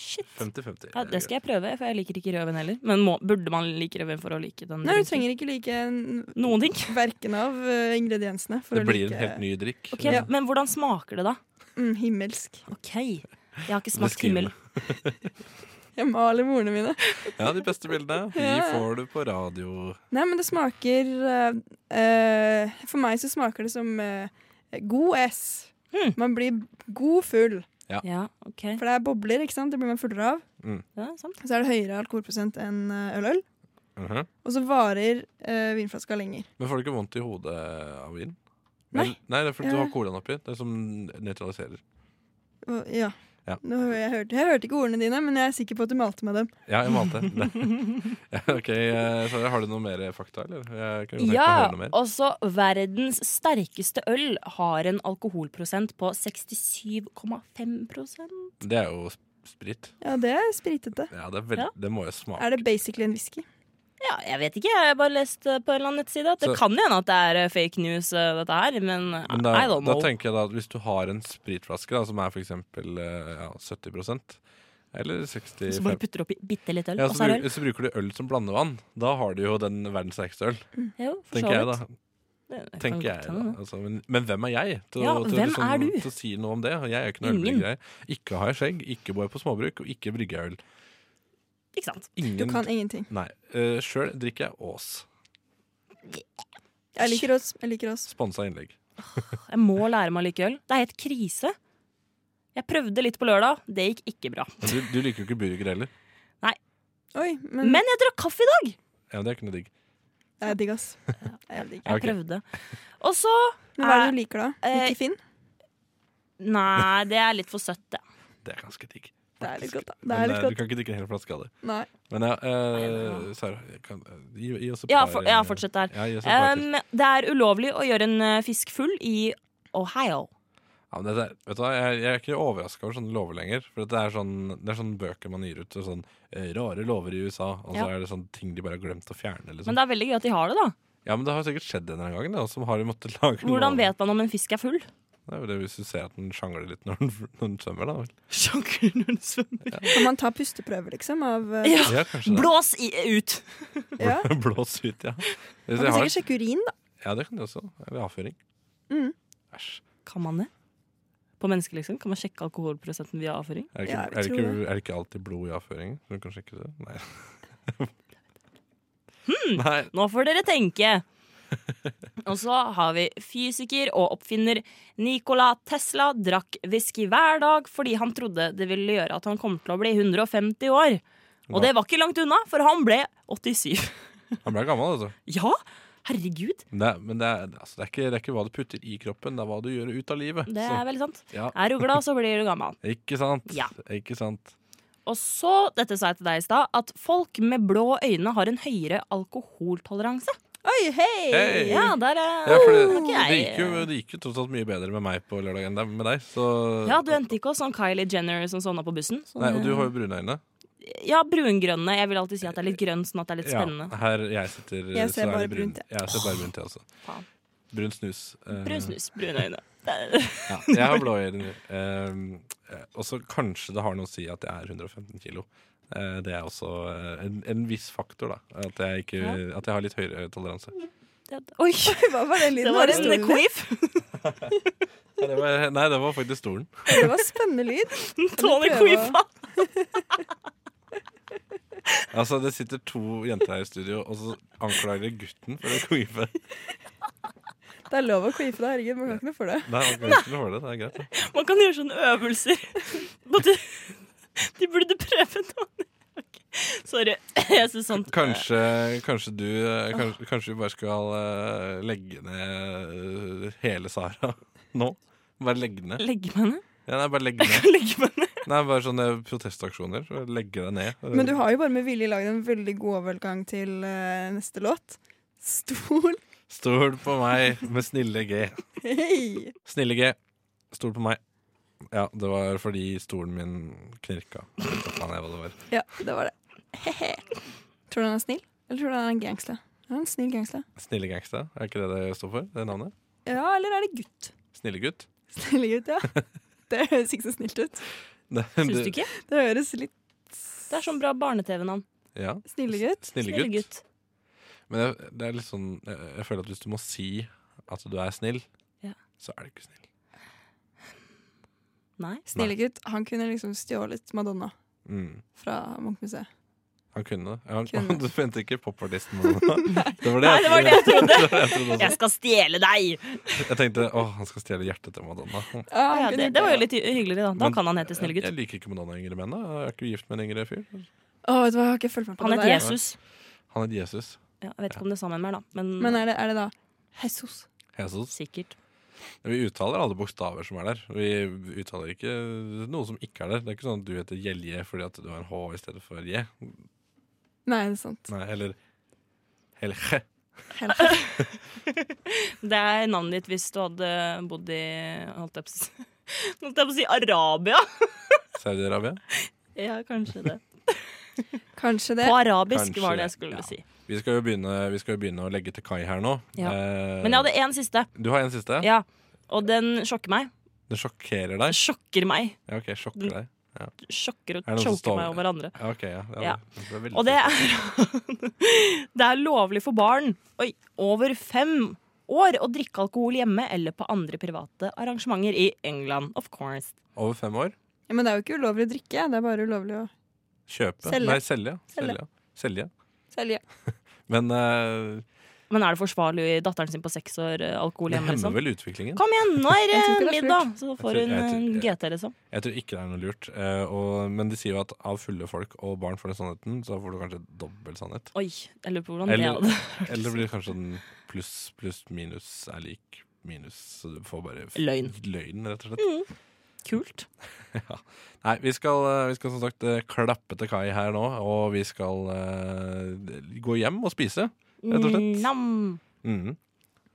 S1: Shit.
S3: 50-50.
S1: Ja, det skal jeg prøve, for jeg liker ikke rødvin heller. Men må, burde man like rødvin for å like den?
S4: Nei,
S1: drinken?
S4: du trenger ikke like n-
S1: Noen ting.
S4: verken av eh, ingrediensene. For
S3: Det
S4: å
S3: blir
S4: like,
S3: en helt ny drikk.
S1: Ok, Men hvordan smaker det, da?
S4: Mm, himmelsk.
S1: Ok, Jeg har ikke smakt
S3: Beskriv det.
S1: himmel.
S4: Jeg maler med ordene mine.
S3: Ja, De beste bildene de
S4: Ja.
S3: får du på radio.
S4: Nei, men det smaker eh, eh, For meg så smaker det som eh, god S.
S1: Hmm.
S4: Man blir god full.
S1: Ja, ok
S4: For det er bobler, ikke sant? Det blir man fullere av.
S1: ja, sant.
S4: Så er det høyere alkoholprosent enn eh, øl-øl.
S3: Mhm.
S4: Og så varer eh, vinflaska lenger.
S3: Men får du ikke vondt i hodet av vin?
S4: Nei.
S3: Men- Nei, det er fordi du
S4: Ja.
S3: har colaen oppi. Det er som nøytraliserer.
S4: Og, ja.
S3: Ja.
S4: Nå, hører jeg, hørte, jeg hørte ikke ordene dine, men jeg er sikker på at du malte med dem.
S3: Ja, jeg malte. Det. Ja, ok, eh, Sara, har du noe mer fakta, eller? Jeg kunne tenkt meg å
S1: Ja,
S3: høre noe mer.
S1: også verdens sterkeste øl har en alkoholprosent på 67,5
S3: Det er jo sp- sprit.
S4: Ja, det er spritete.
S3: Ja, det, er veld...
S1: Ja.
S3: det må jo smake.
S4: Er det basically en whisky?
S1: Ja, jeg vet ikke. Jeg har bare lest eh, på en eller annen nettside at det
S3: Så-
S1: kan hende at det er eh, fake news, eh, dette her, men, eh,
S3: Men da,
S1: I don't
S3: da
S1: know.
S3: tenker jeg da at hvis du har en spritflaske da, som er f.eks. Ja, 70 eller
S1: Så
S3: 65
S1: bare putter du oppi bitte litt øl,
S3: ja,
S1: og
S3: så,
S1: så er det
S3: bruk, så bruker du øl som blandevann. Da har du jo den verdens sterkeste øl,
S1: øl. Jo, for så
S3: tenker jeg da.
S1: vidt. Det- det kan
S3: Tenker
S1: godt
S3: jeg da.
S1: hende, det.
S3: Altså, men, men hvem er jeg til, å-
S1: Ja,
S3: til, å liksom
S1: hvem er du?
S3: til å si noe om det? Jeg er jo ikke noe
S1: Ingen.
S3: ølbrygger. jeg. Ikke har jeg skjegg, ikke bor jeg på småbruk, og ikke brygger jeg øl.
S1: Ikke sant?
S4: Du
S3: Ingen
S4: kan ingenting.
S3: Nei. Uh, Sjøl drikker jeg Ås.
S4: Jeg liker oss. Jeg liker oss.
S3: Sponsa innlegg.
S1: Jeg må lære meg å like øl. Det er helt krise. Jeg prøvde litt på lørdag. Det gikk ikke bra.
S3: Men du, du liker jo ikke burger heller.
S4: Oi, men,
S1: Men jeg drakk kaffe i dag!
S3: Ja, det er ikke noe digg.
S4: Det er digg, ass. Det er digg.
S1: Jeg
S3: Ok.
S1: prøvde. Og så
S4: Men hva er det du liker, da?
S1: Eh,
S4: Ikke Finn?
S1: Nei, det er litt for søtt, det.
S3: Det er ganske digg.
S4: Det er litt
S3: faktisk.
S4: godt, da. Det
S3: Men,
S4: er
S3: eh,
S4: litt
S3: Du
S4: godt.
S3: kan ikke drikke en hel flaske av det.
S4: Nei.
S3: Men ja,
S1: Nei,
S3: eh,
S1: nei.
S3: Sara, kan, eh, gi, gi oss et
S1: Ja,
S3: par
S1: for,
S3: eh,
S1: ja fortsett der.
S3: Ja, gi oss et par til.
S1: Um, det er ulovlig å gjøre en eh, fisk full i Ohio.
S3: Ja, men dette er- vet du hva, jeg, jeg er ikke overraska over sånne lover lenger. For det er, sånn, det er sånne bøker man gir ut. og Sånn, eh, rare lover i USA. Og så
S1: Ja.
S3: er det sånne ting de bare har glemt å fjerne. Liksom.
S1: Men det er veldig gøy at de har det, da.
S3: ja, men det har sikkert skjedd en eller annen gang. Da, som har måttet lage
S1: Hvordan
S3: lover.
S1: vet man om en fisk er full?
S3: Det er jo det hvis du ser at den sjangler litt når den, når den svømmer. Da, vel.
S1: Sjangler når den svømmer.
S4: Kan man ta pusteprøver, liksom? Av, eh,
S1: Ja.
S3: Ja, kanskje det.
S1: Blås i, ut!
S4: ja.
S3: Blås ut, ja. Hvis
S4: Man
S3: jeg
S4: kan
S3: har,
S4: sikkert sjekke urin, da.
S3: ja, det kan de også. Eller avføring.
S4: Mm.
S3: Æsj.
S1: Kan man det? På mennesker, liksom? Kan man sjekke alkoholprosenten via avføring?
S3: Er det, ikke,
S4: Ja, jeg
S3: er, det
S4: tror
S3: ikke,
S4: det.
S3: er det ikke alltid blod i avføringen? Du kan sjekke det? Nei. Nei.
S1: Nå får dere tenke! Og så har vi fysiker og oppfinner Nikola Tesla drakk whisky hver dag fordi han trodde det ville gjøre at han kom til å bli 150 år. Og det var ikke langt unna, for han ble 87.
S3: Han ble gammel, altså.
S1: Ja, herregud.
S3: Det, er- men det er, altså, det, er ikke, det er ikke hva du putter i kroppen, det er hva du gjør ut av livet.
S1: Det er veldig sant.
S3: Så, ja.
S1: Er du glad, så blir du gammel.
S3: Ikke sant?
S1: Ja.
S3: Ikke sant?
S1: Og så, dette sa jeg til deg i stad, at folk med blå øyne har en høyere alkoholtoleranse.
S4: Oi, hei!
S3: Hei!
S1: Ja, der er
S3: Ja, for det,
S1: Ok,
S3: det,
S1: jeg-
S3: gikk jo, det gikk jo tross alt mye bedre med meg på lørdag enn det- med deg. Så,
S1: Ja, du endte ikke oss sånn Kylie Jenner som sovna på bussen. Sånn,
S3: Nei, og du har jo brune øyne.
S1: Ja, brungrønne. Jeg vil alltid si at det er litt grønn, sånn at det er litt
S3: Ja,
S1: spennende.
S3: her jeg sitter
S4: Jeg ser
S3: så er
S4: bare
S3: det brun-
S4: brunt, jeg.
S3: Jeg ser bare brunt, jeg også.
S1: Faen.
S3: Brun snus. eh,
S1: Brun snus, brune øyne. Det er-
S3: Ja, jeg har blå øyne. Eh, eh, og så kanskje det har noe å si at jeg er 115 kilo. Eh, det er også eh, en, en viss faktor, da. At jeg, ikke,
S1: Ja.
S3: at jeg har litt høyere toleranse.
S1: det- Oi!
S4: Hva var den
S1: Det
S4: lyden?
S1: var
S4: det,
S1: en
S4: stolen?
S1: quiff.
S3: Nei, det var, nei, det var faktisk stolen.
S4: det var spennende lyd.
S1: Tony
S4: prøve å-
S1: quiffa.
S3: Altså, Det sitter to jenter her i studio, og så anklager de gutten for å queefe.
S4: Det er lov å quife, da. Herregud, man kan ikke noe for det.
S3: Nei, han kan ikke for det. Det er greit. det.
S1: Man kan gjøre sånne øvelser. Og De, de burde prøve noe. Ok, Sorry. Jeg sånn- syns sånt
S3: Kanskje, kanskje du eh, kanskje, kanskje vi bare skal eh, legge ned eh, hele Sara nå? Bare legge ned.
S1: Legge meg ned?
S3: Ja, nei, bare legge ned.
S1: Legge meg ned.
S3: Nei, bare sånne protestaksjoner. Legge deg ned.
S4: Men du har jo bare med vilje lagd en veldig god overgang til eh, neste låt. Stol.
S3: Stol på meg med snille G.
S4: Hei!
S3: Snille G, stol på meg. Ja, det var fordi stolen min knirka. Jeg vet ikke faen jeg hva det var.
S4: Ja, det var det. Hehe. Tror du han er snill, eller tror du han er en gangster? Han er en snill gangster.
S3: Snille gangsta, er ikke det det står for? Det navnet?
S4: Ja, eller er det gutt?
S3: Snille gutt?
S4: Snill gutt, ja. Det høres ikke så snilt ut.
S3: Det-
S1: Syns du ikke?
S4: Det høres litt
S1: Det er sånn bra barne-TV-navn.
S3: Ja.
S4: snille gutt.
S3: Snille
S1: Snille
S3: gutt.
S1: gutt.
S3: Men jeg, det er litt sånn jeg, jeg føler at hvis du må si at du er snill,
S1: Ja.
S3: så er du ikke snill.
S1: Nei.
S4: Snille gutt. Han kunne liksom stjålet Madonna
S3: Mm.
S4: fra Munchmuseet.
S3: Han kunne det. Han,
S4: Kunne.
S3: Du mente ikke popartisten? Madonna. Det var det,
S1: Nei, det var det jeg
S3: det
S1: trodde.
S3: var det jeg trodde
S1: Jeg
S3: også.
S1: skal stjele deg!
S3: Jeg tenkte å, han skal stjele hjertet til Madonna.
S4: Ah, han
S1: Ja,
S4: kunne
S1: det,
S4: gjort
S1: det var jo litt hy- hyggelig, da. Da
S3: Men-
S1: kan han hete Snille gutt.
S3: Jeg, jeg liker ikke Madonna yngre menn. da. Jeg er ikke gift med en yngre fyr.
S4: Å, vet du hva, jeg har ikke fulgt med på
S1: Han
S4: det
S1: het
S4: der.
S1: Jesus.
S3: Han het Jesus.
S1: Ja, jeg vet ikke om det er sammen med her, da. Men,
S4: Men er det, er det da Jesus?
S3: Jesus.
S1: sikkert.
S3: Vi uttaler alle bokstaver som er der. Vi uttaler ikke noe som ikke er der. Det er ikke sånn at du heter Gjelje fordi at du har en H i stedet for J.
S4: Nei, det er sant.
S3: Nei, eller Helge.
S4: Helt.
S1: Det er navnet ditt hvis du hadde bodd i holdt jeg på, å si- holdt jeg på å si Arabia.
S3: Saudi-Arabia.
S1: Ja, kanskje det.
S4: Kanskje det.
S1: På arabisk
S3: Kanskje
S1: var det
S3: det,
S1: jeg skulle
S3: ja.
S1: si.
S3: Vi skal jo begynne, vi skal jo begynne å legge til kai her nå.
S1: Ja.
S3: Eh,
S1: Men jeg hadde én siste.
S3: Du har en siste?
S1: Ja. Og den sjokker meg.
S3: Det sjokkerer
S1: Den
S3: deg?
S1: Sjokker meg.
S3: Ja, ok, sjokker deg.
S1: Sjokker
S3: Er det
S1: og
S3: noen som står
S1: choker meg
S3: med?
S1: over hverandre.
S3: Ja, ok, ja.
S1: Ja.
S3: det- det er veldig
S1: Og det er Det er lovlig for barn oi, over fem år å drikke alkohol hjemme eller på andre private arrangementer i England, of course.
S3: Over fem år?
S4: Ja, men det er jo ikke ulovlig å drikke. Det er bare ulovlig å
S3: Kjøpe?
S4: Selge.
S3: Nei, selge.
S4: Selge.
S3: Selge. selge.
S4: selge.
S3: Men eh,
S1: Men er det forsvarlig å gi datteren sin på seks år eh, alkohol
S3: det
S1: hjemme?
S3: hemmer
S1: Liksom?
S3: vel utviklingen?
S1: Kom igjen, nå er det
S4: Jeg tror ikke det er
S1: middag! Så
S3: Jeg
S1: får
S3: tror-
S1: hun
S3: jeg tror-
S1: en
S3: jeg-
S1: GT, liksom.
S3: Jeg tror ikke det er noe lurt. eh, og, men de sier jo at av fulle folk og barn får den sannheten, så får du kanskje dobbel sannhet.
S1: Oi, jeg lurer på hvordan det
S3: Eller,
S1: hadde
S3: eller det blir kanskje den pluss pluss minus er lik minus. Så du får bare f-
S1: Løgn.
S3: løgn rett og slett.
S1: Kult.
S3: Nei, vi skal, eh, vi skal som sagt eh, klappe til kai her nå, og vi skal eh, gå hjem og spise. Rett og
S1: Mm.
S3: slett.
S1: Nam.
S4: Mm.
S3: Mhm.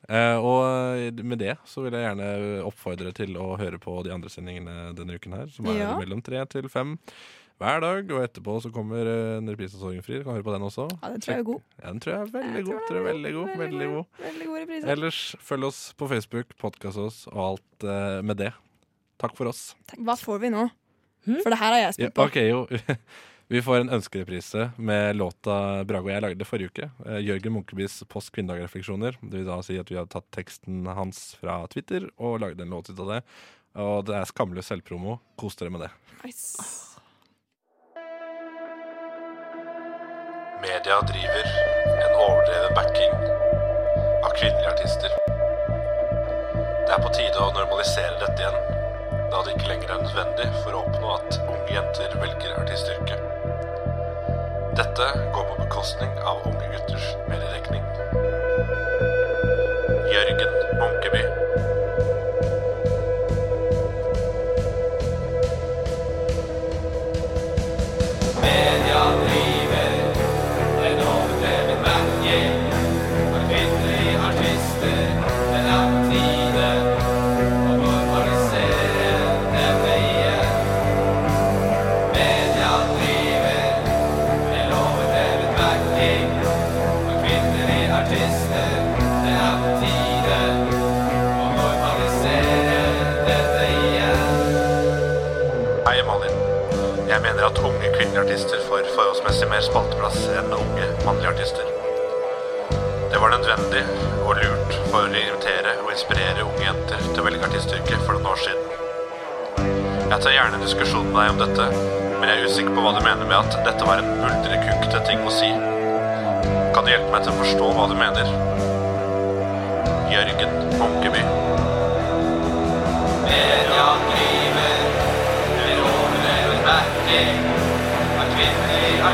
S3: Eh, og med det så vil jeg gjerne oppfordre til å høre på de andre sendingene denne uken her, som er
S4: Ja.
S3: mellom tre til fem hver dag. Og etterpå så kommer eh, en reprise av Sorgenfri. Du kan høre på den også.
S4: Ja, det tror jeg er god.
S3: Ja, den tror jeg er veldig
S4: Jeg
S3: god.
S4: tror
S3: Tror jeg er
S4: den
S3: veldig god, veldig god.
S4: Veldig god reprise.
S3: Ellers følg oss på Facebook, podkast oss og alt eh, med det. Takk for oss.
S4: Hva får vi nå?
S1: Hm?
S4: For det her er jeg
S3: Ja,
S4: spent på.
S3: ok, jo. Vi får en ønskereprise med låta Brage og jeg lagde forrige uke. Eh, Jørgen Munkebys Post kvinnedagrefleksjoner. Det vil da si at vi har tatt teksten hans fra Twitter og lagd en låt ut av det. Og det er skamløs selvpromo. Kos dere med det.
S4: Nice.
S2: Media driver en overdreven backing av kvinnelige artister. Det er på tide å normalisere dette igjen, da det ikke lenger er nødvendig for å oppnå at unge jenter velger artistyrket. Dette går på bekostning av unge gutters mediedekning. Jørgen Munkeby. Hei, Malin. Jeg mener at unge kvinnelige artister får forholdsmessig mer spalteplass enn unge mannlige artister. Det var nødvendig og lurt for å invitere og inspirere unge jenter til å velge artistyrket for noen år siden. Jeg tar gjerne en diskusjon med deg om dette, men jeg er usikker på hva du mener med at dette var en buldrekukte ting å si. Kan du hjelpe meg til å forstå hva du mener? Jørgen Munkeby.